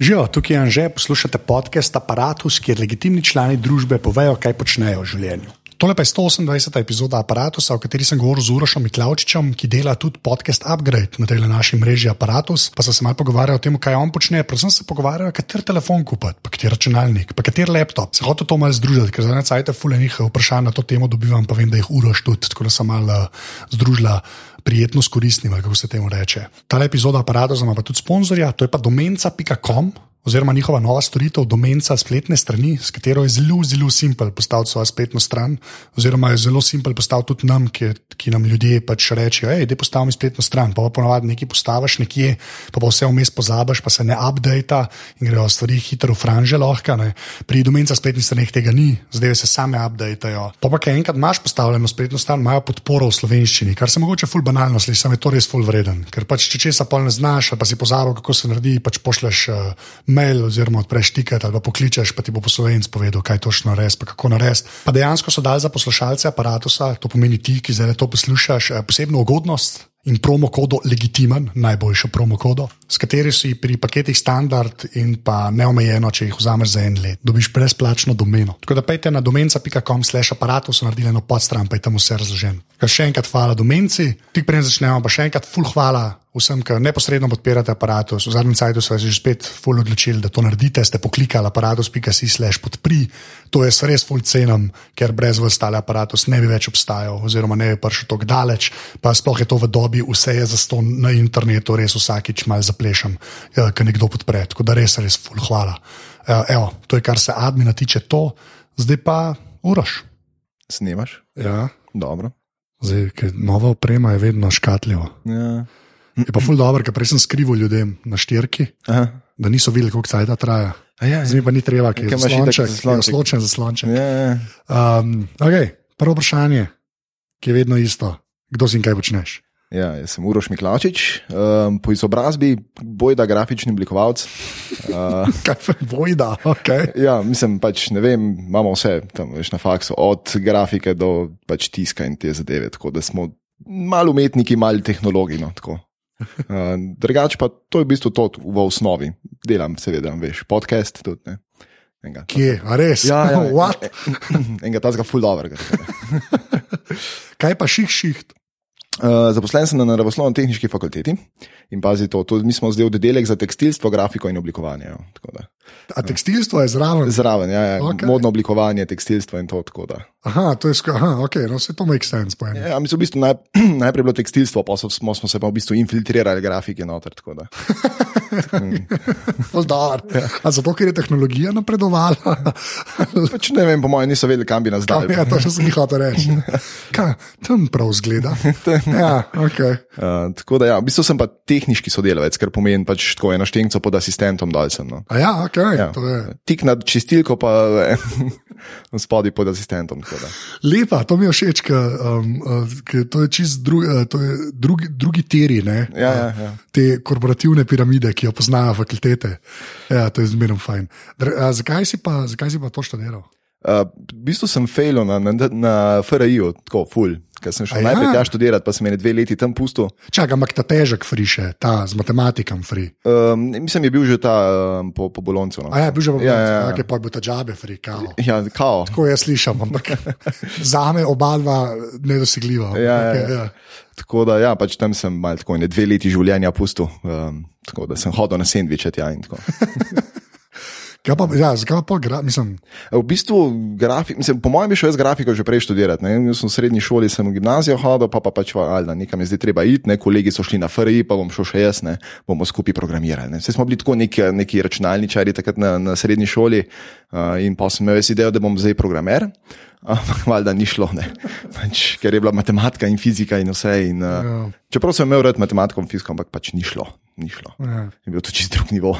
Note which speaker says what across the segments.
Speaker 1: Živijo, tukaj je Anže, poslušate podcast Apparatus, kjer legitimni člani družbe povejo, kaj počnejo v življenju. Tole pa je 128. epizoda Apparatusa, o kateri sem govoril z Urošom Miklaočičem, ki dela tudi podcast Upgrade na tej naši mreži Apparatus. Pa sem se malo pogovarjal o tem, kaj on počne, predvsem se pogovarjal, kater telefon kupiti, pa kater računalnik, pa kater laptop. Se hotel to malo združiti, ker zadnje cajte fulenih vprašanj na to temo dobivam, pa vem, da jih Uroš tudi, tako da sem malo uh, združila prijetno s koristnim, ali kako se temu reče. Ta epizoda aparata ima pa tudi sponzorja, to je pa domenca.com. Oziroma, njihova nova storitev, domenca spletne strani, s katero je zelo, zelo simpel postaviti svojo spletno stran, oziroma je zelo simpel postaviti tudi nam, ki, ki nam ljudje pač rečejo: hej, da postavim spletno stran, pa pa ponavadi nekaj postaviš nekje, pa pa vse vmes pozabiš, pa se ne updata in grejo stvari hitro v franže lahko. Ne. Pri domenca spletnih straneh tega ni, zdaj se same updatajo. Pa pa, ker enkrat imaš postavljeno spletno stran, imajo podporo v slovenščini, kar se mogoče ful banalno sliši, sam je to res ful vreden. Ker pač, če česa pol ne znaš, ali pa si pozabil, kako se naredi, pač pošleš uh, mail oziroma odpreš tiket ali pa pokličeš, pa ti bo poslovenc povedal, kaj točno res, pa kako nares. Pa dejansko so dali za poslušalce aparatusa, to pomeni ti, ki zdaj to poslušaš, eh, posebno ugodnost. In promokodo legitimen, najboljšo promokodo, s katero si pri paketih standard in pa neomejeno, če jih vzameš za en let, dobiš brezplačno domeno. Tako da pejte na domenca.com, slash aparatu, so naredili eno podstran, pa je tam vse razložen. Ker še enkrat hvala domenci, tik preden začnemo, pa še enkrat full hvala vsem, ki neposredno podpirate aparatus. V zadnjem sajtu ste se že spet full odločili, da to naredite, ste poklikali aparatus.si slash podpri. To jaz res full cenim, ker brez vas tale aparatus ne bi več obstajal oziroma ne bi prišel tako daleč, pa sploh je to v dobi, vse je zaston na internetu, res vsakič mal zaplešam, eh, ker nekdo podpre. Tako da res, res full hvala. Eh, Evo, to je kar se admina tiče to, zdaj pa uroš.
Speaker 2: Snemaš?
Speaker 1: Ja.
Speaker 2: Dobro.
Speaker 1: Zdaj, ker nova oprema je vedno škatljiva.
Speaker 2: Ja.
Speaker 1: Je pa ful dobro, ker prej sem skrival ljudem na štirki,
Speaker 2: Aha.
Speaker 1: da niso videli, koliko cajt traja.
Speaker 2: A Ja,
Speaker 1: Zdaj mi pa ni treba, ker je
Speaker 2: Ker imaš
Speaker 1: zaslonček,
Speaker 2: itak
Speaker 1: je
Speaker 2: zaslonček.
Speaker 1: zaslončen zaslonček.
Speaker 2: ja, ja.
Speaker 1: Um, okay, prvo vprašanje, ki je vedno isto. Kdo si in kaj počneš?
Speaker 2: ja, jaz sem Uroš Miklačič, um, po izobrazbi bojda grafični oblikovalec. Uh,
Speaker 1: Kaj pa vojda? Okay.
Speaker 2: ja, mislim, pač ne vem, imamo vse tam veš, na faksu, od grafike do pač tiska in te zadeve, tako da smo malo umetniki, malo tehnologi. No, tako. uh, drugač pa to je v bistvu to v osnovi. Delam, seveda, veš, podcast tudi. Ne? Enega,
Speaker 1: Kje, a res?
Speaker 2: Ja, ja,
Speaker 1: What?
Speaker 2: enega tazga, full dobro.
Speaker 1: Kaj pa ših šiht?
Speaker 2: Uh, zaposlen sem na naravoslovno-tehnički fakulteti in pazi to, to, mi smo zdaj oddelek za tekstilstvo, grafiko in oblikovanje. Jo, tako da.
Speaker 1: A tekstilstvo je zraven.
Speaker 2: Zraven, ja, ja,
Speaker 1: Okej.
Speaker 2: okay. modno oblikovanje, tekstilstvo in to. tako da.
Speaker 1: Aha, to je sko- aha, okay, no, vse to makes sense. po enem.
Speaker 2: Ja, mi smo v bistvu naj, najprej bilo tekstilstvo, pa so- smo, smo se pa v bistvu infiltrirali grafike noter. tako da.
Speaker 1: Ful dobro.
Speaker 2: Ja.
Speaker 1: A Zato, ker je tehnologija napredovala.
Speaker 2: Pač ne vem, po mojem, niso vedeli, kam bi nas dali.
Speaker 1: Ja, to še sem jih hotel reči.
Speaker 2: Ja.
Speaker 1: Kaj, tam prav zgleda. Ja, okay.
Speaker 2: Uh, tako da, ja, v bistvu sem pa tehnični sodelavec, kar pomeni pač tako eno štenco pod asistentom dol sem. No.
Speaker 1: A ja, okay, ja.
Speaker 2: Ja.
Speaker 1: To je
Speaker 2: Tik nad čistilko, pa eh, spodaj pod asistentom. tako da.
Speaker 1: lepa, to mi je všeč, ker um, uh, to je čist dru, uh, to je drugi, drugi teri, ne,
Speaker 2: Ja, ja, ja.
Speaker 1: te korporativne piramide, ki jo poznajo fakultete. Ja, to je zmerno fajn. Dr, a zakaj, si pa, zakaj si pa to študiral?
Speaker 2: Uh, v bistvu sem failil na, na, na FRI-ju, tako full. Ker sem šel
Speaker 1: Aja.
Speaker 2: Aja. najprej tja študirati, pa sem ene dve leti tam pustil.
Speaker 1: Čakaj, ampak ta težek friše, ta z matematikom fri.
Speaker 2: Um, mislim, je bil že ta um, po, po Boloncu. No.
Speaker 1: A ja, bil že pa
Speaker 2: Ja, ja, ja.
Speaker 1: kaj pa bo ta džabe fri, kao.
Speaker 2: Ja, kao.
Speaker 1: Tako jaz slišim, ampak za me oba dva nedosegljiva.
Speaker 2: Ja, ja,
Speaker 1: Okej,
Speaker 2: ja. Tako da, ja, pač tam sem malo tako ene dve leti življenja pustil. Um, tako da sem hodil na sendviče tja in tako.
Speaker 1: Kaj pa, ja, zakaj pa, gra, mislim,
Speaker 2: V bistvu, grafi, mislim, po mojem, bi šel jaz grafiko že prej študirati. Ne? Jaz sem v srednji šoli, sem v gimnazijo hodil, pa, pa pač valjda, nekam je zdaj treba iti, ne? kolegi so šli na FRI, pa bom šel še jaz, ne? bomo skupaj programirali. Ne? Vse smo bili tako neki, neki računalničari takrat na, na srednji šoli uh, in pa sem imel jaz idejo, da bom zdaj programer. Ampak valjda ni šlo, ne. pač, ker je bila matematika in fizika in vse. In, uh, čeprav sem imel rad matematiko in fiziko, ampak pač ni šlo. Ni šlo
Speaker 1: ja.
Speaker 2: je bil to čist drug nivo.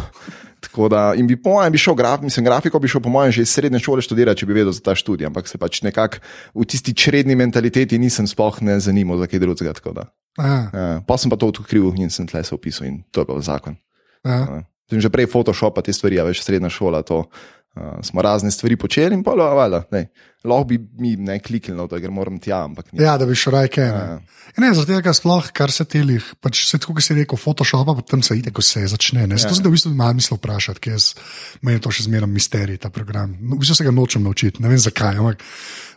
Speaker 2: Tako da, in bi po mojem, bi šel graf, mislim, grafiko bi šel po mojem že iz srednje šole študirati, če bi vedel za ta študij, ampak se pač nekako v tisti čredni mentaliteti nisem sploh ne zanimal za kaj drugega. tako da.
Speaker 1: ja,
Speaker 2: Eh, Pa sem pa to odkril in sem tle se opisal in to je bil zakon.
Speaker 1: ja.
Speaker 2: Eh, Sem že prej Photoshop, pa te stvari, a veš, srednja šola, to eh, smo razne stvari počeli in pa valjda, ne, lahko bi mi ne kliknil, da moram tja, ampak ne.
Speaker 1: Ja, da bi šel rajke.
Speaker 2: Ja.
Speaker 1: Ja. Ne, zaradi tega sploh, kar se telih, pač se tako, kot si rekel, Photoshop, pa tam se ide, ko se začne. Ne. Zato
Speaker 2: Ja.
Speaker 1: sem da v bistvu malo mislil vprašati, ker jaz, meni je to še zmeraj misterij, ta program. No, V bistvu se ga nočem naučiti, ne vem zakaj, ampak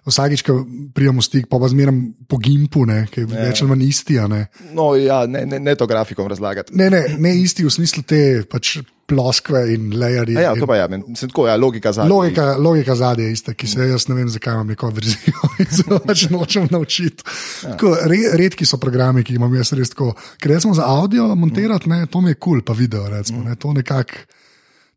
Speaker 1: vsakič, ko prijemo stik, pa pa zmeraj po gimpu, ne, ki je ja. več ali manj isti. a Ne.
Speaker 2: No, ja, ne, ne, ne to grafikom razlagati.
Speaker 1: Ne, ne, ne isti v smislu te pač ploskve in lejari.
Speaker 2: Ja, ja,
Speaker 1: in-
Speaker 2: to pa je, meni se tako, ja, logika zadnja.
Speaker 1: Logika, logika zadnje je ista, ki
Speaker 2: Mm.
Speaker 1: se jaz ne vem, zakaj imam neko verzijo in se jo pač nočem naučiti.
Speaker 2: Ja.
Speaker 1: Tako, re, redki so programi, ki jih imam jaz res tako. Ker recimo za avdio montirati, ne, to mi je kul, cool, pa video.
Speaker 2: Mm.
Speaker 1: Recimo, ne, to nekako.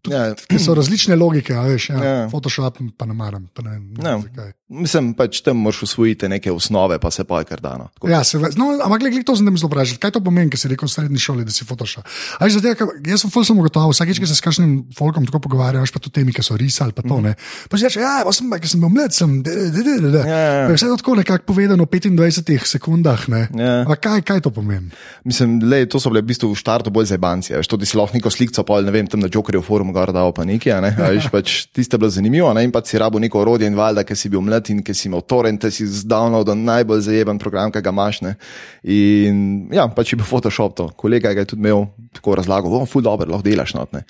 Speaker 2: Ja,
Speaker 1: ker So različne logike, a veš, ja,
Speaker 2: Ja.
Speaker 1: Photoshop pa ne maram. Pa ne, ne,
Speaker 2: Ja.
Speaker 1: ne. Zakaj.
Speaker 2: mislim, pač tam moraš usvojiti neke osnove, pa se pa je kar dano. Tako,
Speaker 1: Ja, se ve- no, ampak gled, gled, to sem zelo vprašal. Kaj to pomeni, ker si rekel v srednji šoli, da si fotošop? Aj, zato, ker jaz sem fulsem ugotovil, vsakeč, ko se s kakšnim folkom tako pogovarjaš, pa tudi temi, ki so risali, pa to ne. Pa si rečeš, ja, pa sem, pa, ker sem bil mlad, sem. De, de, de, de, de.
Speaker 2: Ja, ja, ja.
Speaker 1: Pa je Vse je tako nekako povedano v 25 sekundah. ne.
Speaker 2: Ja.
Speaker 1: Ampak kaj, kaj to pomeni?
Speaker 2: Mislim, le, to so bile v bistvu v štartu bolj zebanci. a Veš, to, da si lahko neko sliko, pa ne vem, tam na Jokerju forum gor dal pa nekaj, a ne, a veš, pač tiste bile zanimivo, a ne, in pa si rabo neko orodje in valjda, ker si bil mlad in ker si imel torrent, te si zdownload najbolj zajeben program, ki ga imaš, ne. In ja, pač je bil Photoshop to, kolega ga je tudi imel tako razlago, o, ful dobro, lahko delaš notne.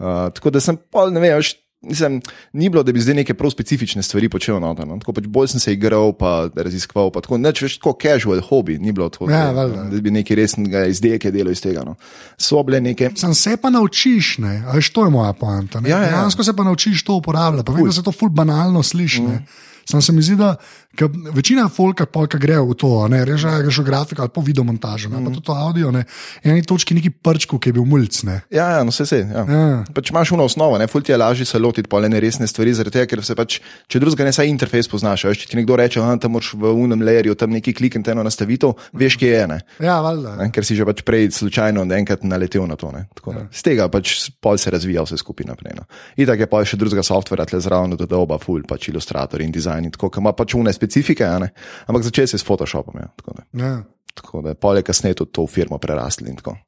Speaker 2: Uh, tako da sem pol, ne vem, veš, Mislim, ni bilo, da bi zdaj neke prav specifične stvari počel noter. No. Tako pač bolj sem se igral, pa raziskoval. Pa tako, neč več tako casual hobi, ni bilo tako,
Speaker 1: Ja,
Speaker 2: da,
Speaker 1: valjda.
Speaker 2: da bi neki resnega izdelka delal iz tega. No. So bile neke.
Speaker 1: Sam se pa naučiš, ne, a veš, to je moja poanta. ne.
Speaker 2: Ja, ja, ja.
Speaker 1: Dejansko se pa naučiš to uporabljati. Pa vem, da se to ful banalno sliši.
Speaker 2: Mhm.
Speaker 1: Mm. Sam se mi zdi, da ke večina folka polka gre v to, a ne reže, da greš v grafiko ali po videomontažu,
Speaker 2: Mhm.
Speaker 1: mm. pa tudi to audio, ne, eni točki neki prčku, ki je bil mulc. Ne.
Speaker 2: Ja, ja, no, vse se. Ja.
Speaker 1: Ja.
Speaker 2: Pač imaš uno osnovo, ne, ful ti je lažje se lotiti pol ene resne stvari, zaradi tega, ker se pač, če drugega ne, saj interfejs poznaš. a Veš, če ti nekdo reče, da tam moraš v unem layerju, tam neki kliknite eno nastavitev, veš, kje je ena.
Speaker 1: Ja, valjda.
Speaker 2: Ne, ker si že pač prej slučajno enkrat naletel na to. ne. Tako da Z tega pač pol se razvija vse skupaj naprej. No. In tako je pa še drugega softverja, tle zraven dodoba, full, pač ilustrator in dizajn, in tako, ki ima pač une specifike, a ne. ampak začel se je s Photoshopom. Ja. Tako da,
Speaker 1: Ja.
Speaker 2: tako da pol je kasneje tudi to v firmo prerasli in tako.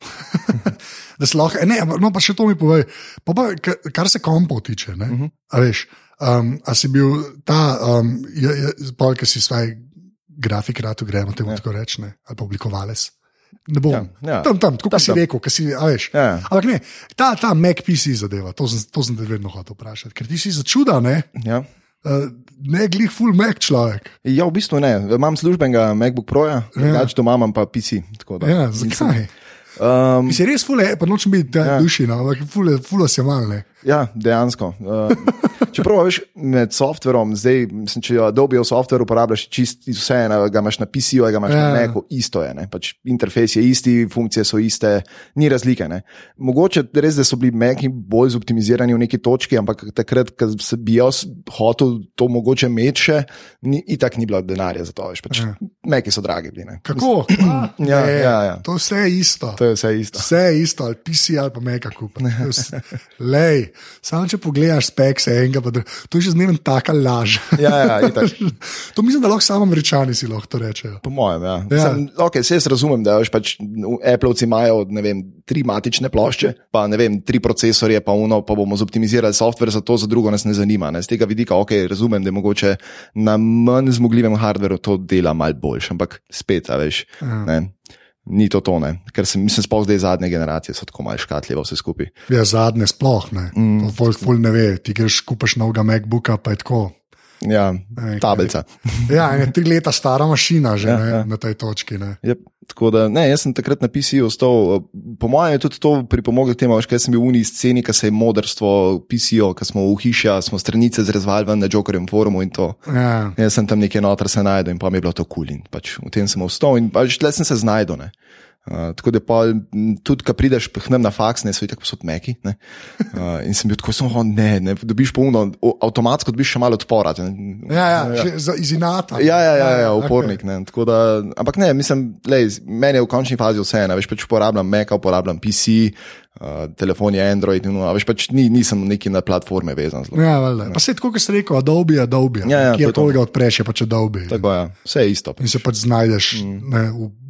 Speaker 1: Da se lahko, ne, ampak, no pa še to mi povej. Pa pa, ka- kar se kompov tiče, ne, uh
Speaker 2: Mhm.
Speaker 1: -huh. a veš, um, a si bil ta, um, je, je, pol, ki si svoj grafik rad, gremo temu ja. tako reči, ne, ali pa oblikovalec. Ne bom.
Speaker 2: Ja, ja.
Speaker 1: Tam, tam, tako
Speaker 2: Tam,
Speaker 1: kot si
Speaker 2: tam.
Speaker 1: rekel, ki si, a veš.
Speaker 2: Ja.
Speaker 1: Ampak ne, ta, ta Mac PC zadeva, to sem, to sem te vedno hotel vprašati, ker ti si začuda, ne,
Speaker 2: Ja.
Speaker 1: uh, ne glih full Mac človek.
Speaker 2: ja, v bistvu ne. Imam službenega MacBook Proja, drugače doma imam pa PC. tako da.
Speaker 1: Ja, zakaj?
Speaker 2: Um,
Speaker 1: Mi si res full, je, pa nočem biti ja. duši, no, ampak full, je- full se malne.
Speaker 2: Ja, dejansko. Uh, čeprav a veš med softverom, zdaj, mislim, če Adobe software uporabljaš čist iz vse, ena, ga imaš na PC-ju, a ga imaš ja.
Speaker 1: Ja.
Speaker 2: na Macu, isto je. Ne? Pač interfejs je isti, funkcije so iste, ni razlike. Ne? Mogoče res, da so bili Maci bolj zoptimizirani v neki točki, ampak takrat, ko se bi jaz hotel to mogoče imeti še, ni, itak ni bilo denarja za to. Veš, pač, ja. Maci so dragi bili. Ne?
Speaker 1: Kako?
Speaker 2: Ja,
Speaker 1: Ne,
Speaker 2: ja, ja.
Speaker 1: To vse je isto.
Speaker 2: To je vse isto.
Speaker 1: Vse je isto, ali PC ali pa meka kupa. Lej, samo če pogledaš speks enega, pa dru- to je že zmeraj taka laž.
Speaker 2: Ja, ja, itak.
Speaker 1: to mislim, da lahko samo američani si lahko to rečejo.
Speaker 2: Po mojem, ja.
Speaker 1: Ja.
Speaker 2: ja. Sem, okay, se jaz razumem, da veš, pač, Appleovci imajo ne vem, tri matične plošče, pa ne vem, tri procesorje, pa uno, pa bomo zoptimizirali software za to, za drugo nas ne zanima. Ne. Z tega vidika, ok, razumem, da je mogoče na manj zmogljivem hardveru to dela mal boljš, ampak spet, a veš.
Speaker 1: Ja.
Speaker 2: Ne. Ni to tone, ker sem, mislim, sploh zdaj zadnje generacije so tako malo škatljive, vse skupaj.
Speaker 1: Ja, zadnje sploh ne. Mm. To folk ful ne ve. Ti greš, kupaš novega MacBooka, pa je tako.
Speaker 2: Ja, tablica.
Speaker 1: Ja, ena tri leta stara mašina že ja, ne, ja. na tej točki. Ne.
Speaker 2: Je, tako da, ne, jaz sem takrat na PC-ju ostal. eh, Po mojem je tudi to pripomoglo k temu, veš, kaj sem bil v uniji sceni, ki se je modrstvo PC-jo, ki smo v hiši, smo stranice zrezvali ven na Jokerjem forumu in to.
Speaker 1: Ja.
Speaker 2: Jaz sem tam nekje noter se najdel in pa mi je bilo to kul. Cool in pač v tem sem ostal in pač tle sem se znajdel. ne. Uh, tako da, pa, tudi ko prideš k nam na faks, ne so tako posod meki. ne. Uh, in sem bil tako, samo, ne, ne, dobiš polno, o- avtomatsko dobiš še malo odpora. ne.
Speaker 1: Ja, ja, že za- iz inata.
Speaker 2: Ja, ja, ja, ja
Speaker 1: okej.
Speaker 2: upornik. Okay. Ne, Tako da, ampak ne, mislim, lej, z- meni je v končni fazi vseeno. Veš, pač uporabljam Mac, uporabljam PC, Uh, telefon je Android, no, a veš pač ni, nisem neki na platforme vezan. Zelo.
Speaker 1: Ja, valjda. pa se tako, kot si rekel, Adobe, Adobe.
Speaker 2: Ja, ja, to
Speaker 1: Kjer
Speaker 2: je to.
Speaker 1: tolga odpreš, je pač Adobe.
Speaker 2: Tako, ja. Vse je isto.
Speaker 1: In se pač znajdeš mm. ne,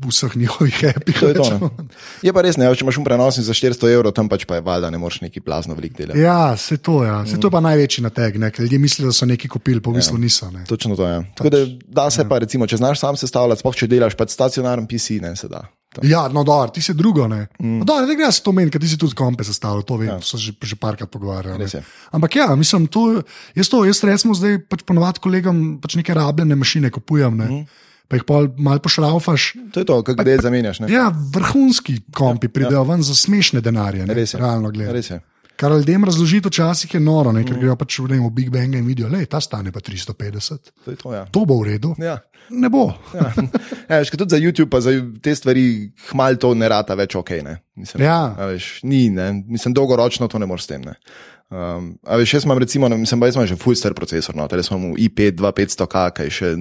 Speaker 1: v vseh njihovih epih.
Speaker 2: To je, to, ne. je pa res, ne, če imaš un prenosnik za 400 evrov, tam pač pa je valjda, ne moreš neki plazno velik delati.
Speaker 1: Ja, se to, ja. se to
Speaker 2: Mm.
Speaker 1: je pa največji nateg. Ne? ker Ljudje mislijo, da so nekaj kupili, po mislu niso. Ne?
Speaker 2: Točno to je. Ja. Tako da, da se pa, recimo, če znaš sam sestavljati, sploh če delaš pač stacionaren PC, ne se da. To.
Speaker 1: Ja, no, dobro, ti si drugo. Ne, mm. no, dobro, ne gre se to meni, ker ti si tudi kompe sestavljal, to vem, ja. so že, že parkrat pogovarjali.
Speaker 2: Res je.
Speaker 1: Ampak ja, mislim, to, jaz to, jaz recimo zdaj pač ponovadi kolegom pač neke rabljene mašine kupujem, ne,
Speaker 2: Mhm.
Speaker 1: mm. pa jih pol malo pošraufaš.
Speaker 2: To je to, kaj kdaj zamenjaš. Ne?
Speaker 1: Ja, vrhunski kompi pridejo ja. ven za smešne denarje, ne,
Speaker 2: Res je.
Speaker 1: realno gledano.
Speaker 2: Res je.
Speaker 1: Kar ljudem razložiti včasih je noro, ne, ker mm. grejo pač ne vem, v Big Bang in vidijo, da ta stane pa 350.
Speaker 2: To je to, ja.
Speaker 1: To bo v redu.
Speaker 2: Ja.
Speaker 1: Ne bo.
Speaker 2: Ja. Ja, veš, ker tudi za YouTube, pa za te stvari, hmal to ne rata več ok. Ne? Mislim,
Speaker 1: Ja.
Speaker 2: a veš, ni, ne? mislim, dolgoročno to ne moreš s tem. Ne? Um, a veš, jaz imam recimo, ne, mislim, da imam že full star procesor, no, tele smo v i5, 2500K, kaj še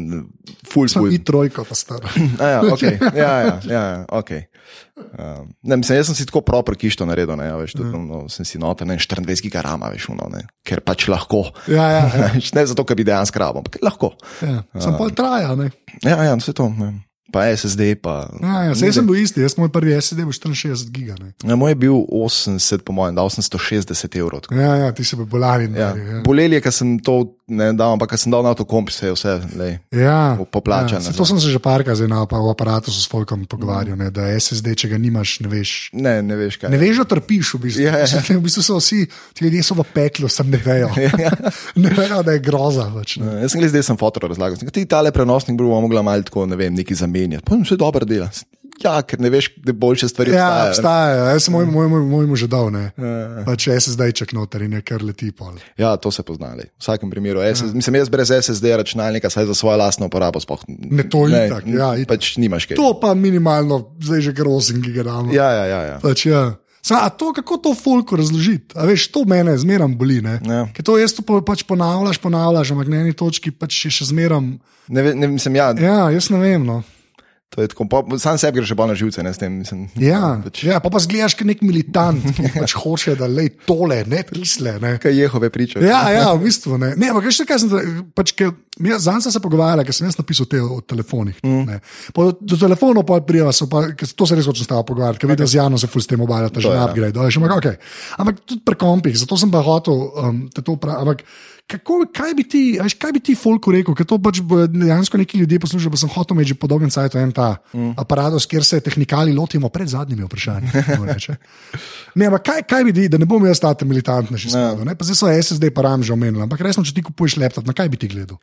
Speaker 2: full full.
Speaker 1: Ti trojko pa star.
Speaker 2: A Ja, okay. ja, ja, ja, ja, okay. um, ne, mislim, jaz sem si tako proper kišto naredil, ne, a veš,
Speaker 1: Ja.
Speaker 2: tudi, no, no, sem si noter ne, 24 giga rama, veš, uno, ne, ker pač lahko.
Speaker 1: Ja, ja, ja.
Speaker 2: ne zato, ker bi dejansko rabil, ampak lahko.
Speaker 1: ja. Sem pol traja. Ne.
Speaker 2: Ja, ja, vse to. Ne. Pa SSD, pa.
Speaker 1: Ja, ja, saj sem bil isti, jaz moj prvi SSD bil 64 giga. Ne.
Speaker 2: Ja, moj je bil 80, po mojem, da 860 evrov. tako.
Speaker 1: Ja, ja, ti si bil bolani.
Speaker 2: Ja.
Speaker 1: Ja. Ja.
Speaker 2: Bolel je, ker sem to ne dal, ampak ker sem dal na to komp, se je vse. Lej.
Speaker 1: Ja,
Speaker 2: Po- poplačan
Speaker 1: ja, saj
Speaker 2: nazaj.
Speaker 1: to sem se že parkrat zdaj na pa v aparatu s Folkom pogovarjal, ne, da SSD, če ga nimaš, ne veš.
Speaker 2: Ne, ne veš kaj.
Speaker 1: Ne veš, da trpiš, v bistvu.
Speaker 2: Ja, ja.
Speaker 1: Mislim, v bistvu so vsi ti ljudje so v peklu, sem ne vejo.
Speaker 2: Ja,
Speaker 1: ne vejo, da je groza. Več, ne.
Speaker 2: Jaz sem gledal, zdaj sem fotor razlagal. Sem rekel, Ti tale prenosnik bi mogla malo tako, ne vem, neki zamenjati. Pa vse dobro dela. Ja, ker ne veš, da boljše stvari
Speaker 1: Ja,
Speaker 2: obstajajo.
Speaker 1: obstaja. Jaz sem moj- moj- moj- mojemu že dal, ne. Pač SSD-ček noter in je kar leti pol.
Speaker 2: Ja, to se poznali. V vsakem primeru,
Speaker 1: Ja.
Speaker 2: SS, mislim, jaz brez SSD računalnika, saj za svojo lastno uporabo sploh
Speaker 1: Ne, to itak, ja, itak.
Speaker 2: pač nimaš kaj.
Speaker 1: To pa minimalno, zdaj že kar 8 gigabajtov.
Speaker 2: Ja, ja, ja. ja.
Speaker 1: Pač, ja. Sa, a to, kako to folku razložiti? A veš, to mene zmeraj boli. ne.
Speaker 2: Ja.
Speaker 1: Ker to jaz to pa, pač ponavljaš, ponavljaš, ampak na eni točki pač še, še zmeraj.
Speaker 2: Ne, ve- ne, mislim, ja,
Speaker 1: Ja, jaz ne vem. No.
Speaker 2: To je tako, po- sam sebi greš še bolj na živce, ne s tem. Mislim, pač
Speaker 1: Ja, ja, pa pa zgledaš kot nek militant, ki pač hoče, da le tole, ne tisle. Ne.
Speaker 2: Kaj jehove priče.
Speaker 1: Ja, ja, v bistvu ne. Ne, ampak še kaj sem. Pač, Zanj sem se pogovarjala, ker sem jaz napisal te o telefonih. Mm. Po, do telefonov pa prijava, so pa, ker to se res hočem stava pogovarjati, ker okay. vidiš, z Janom se ful s tem obajata, že
Speaker 2: To je,
Speaker 1: na
Speaker 2: ja.
Speaker 1: upgrade. a veš, Ampak, okay. ampak tudi pri kompih, zato sem pa hotel um, te to vprašati. Ampak kako, kaj bi ti, a veš, kaj bi ti folku rekel, ker to pač bo dejansko neki ljudje poslušajo, pa sem hotel imeti že po dolgem cajtu en ta mm. aparatus, kjer se tehnikali lotimo pred zadnjimi vprašanji. kako reče. Ne, ampak kaj, kaj bi ti, da ne bom jaz ta militantni še
Speaker 2: Ja.
Speaker 1: spadal? ne? Pa Zdaj so SSD pa ramže omenili, ampak resno, če ti kupuješ laptop, na kaj bi ti gledal?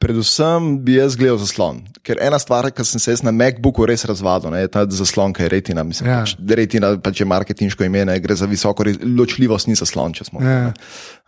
Speaker 2: Predvsem bi jaz gledal zaslon. Ker ena stvar, ki sem se jaz na MacBooku res razvadil, ne, je ta zaslon, ki je retina. Mislim,
Speaker 1: Ja.
Speaker 2: ja. pač, retina pač je marketinško ime, ne, gre za visoko re- ločljivost, ni zaslon, če smo.
Speaker 1: Ja.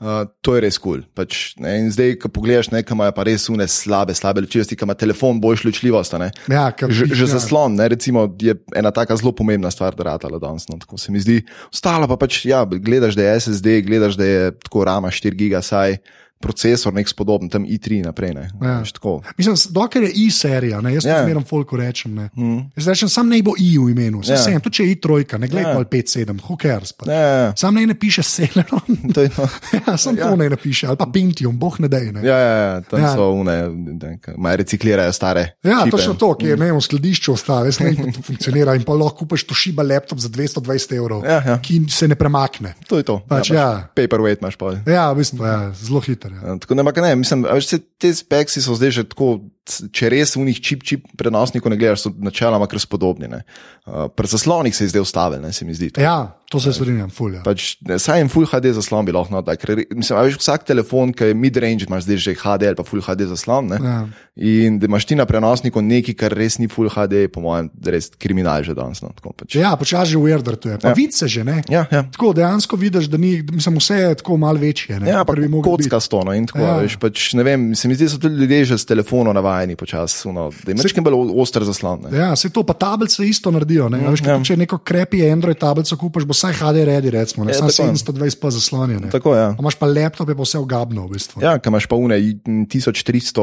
Speaker 2: Uh, to je res kul. Cool. Pač, ne, in zdaj, ko pogledaš, nekaj imajo pa res une slabe, slabe ločljivosti, ki ima telefon boljš ločljivost. a Ne.
Speaker 1: Ja, ker-
Speaker 2: že, že
Speaker 1: ja.
Speaker 2: zaslon ne, recimo, je ena tako zelo pomembna stvar, da ratala danes. No, tako se mi zdi. Ostalo pa pač, ja, gledaš, da je SSD, gledaš, da je tako rama 4 giga, saj procesor nek spodoben, tam i3 naprej. Ne,
Speaker 1: Ja.
Speaker 2: Veš, tako.
Speaker 1: Mislim, s- dokler je i serija, ne, jaz yeah.
Speaker 2: Ja. Hmm.
Speaker 1: zmeraj folku rečem. Ne. Mm. Jaz rečem, sam naj bo i v imenu, yeah.
Speaker 2: Ja.
Speaker 1: vsem, tudi če je i trojka, ne gledaj
Speaker 2: Ja.
Speaker 1: yeah. pol 5-7, who cares. Pa.
Speaker 2: Ja, ja, ja.
Speaker 1: Sam naj ne piše Celeron,
Speaker 2: To je to.
Speaker 1: ja, sam yeah. to naj ne piše, ali pa Pentium, boh ne dej. Ne.
Speaker 2: Ja, ja, ja, tam
Speaker 1: Ja.
Speaker 2: ja. so une, ne, ki imajo reciklirajo stare. no.
Speaker 1: Ja,
Speaker 2: čipe.
Speaker 1: točno to, ki je
Speaker 2: Hmm.
Speaker 1: ne, vem, v skladišču ostalo, ne vem, kako to funkcionira. In pa lahko kupiš to šiba laptop za 220 evrov,
Speaker 2: Ja, ja.
Speaker 1: ki se ne premakne.
Speaker 2: To je to.
Speaker 1: Pač, ja.
Speaker 2: Paperweight imaš pa.
Speaker 1: Ja, v bistvu, ja, zelo hiter. Ja.
Speaker 2: Ja, Tako da, ampak ne, mislim, a veš, saj te speksi so zdaj že tako, c- če res v njih čip, čip prenosnikov ne gledaš, so načeloma kar spodobni. ne. Uh, Pri zaslonih se je zdaj ustavil, ne se mi zdi.
Speaker 1: ja, to se strinjam, ja. fulja.
Speaker 2: Pač, ne, saj en full HD zaslon bi lahko dal. Ker re- mislim, a veš, vsak telefon, ki je mid-range, imaš zdaj že HD ali pa full HD zaslon. Ne?
Speaker 1: Ja.
Speaker 2: In da imaš ti na prenosniku nekaj, kar res ni full HD, po mojem, res kriminal že danes. No, tako, pač.
Speaker 1: Ja, počasi že weirder to je. Pa ja. vidi se že, ne?
Speaker 2: Ja, ja.
Speaker 1: Tako dejansko vidiš, da ni, mislim, vse je tako malo večje. Ne?
Speaker 2: Ja,
Speaker 1: Kar
Speaker 2: pa
Speaker 1: bi moglo biti.
Speaker 2: kocka stono in tako.
Speaker 1: Ja.
Speaker 2: Ja. Veš, pač, ne vem, se mi zdi, da so tudi ljudje že s telefonom navajeni počasi, no, da je nekaj bolj o- oster zaslon. Ne.
Speaker 1: Ja, se to pa tablice isto naredijo. Ne? a Veš, ja. Če neko krepi Android tablico kupaš, bo vsaj HDR-redi, recimo, ne
Speaker 2: Ja,
Speaker 1: samo
Speaker 2: tako.
Speaker 1: 720p zaslonjene.
Speaker 2: Tako, ja.
Speaker 1: A Imaš pa laptop, je pa vse ogabno, v bistvu.
Speaker 2: Ja, ki imaš pa une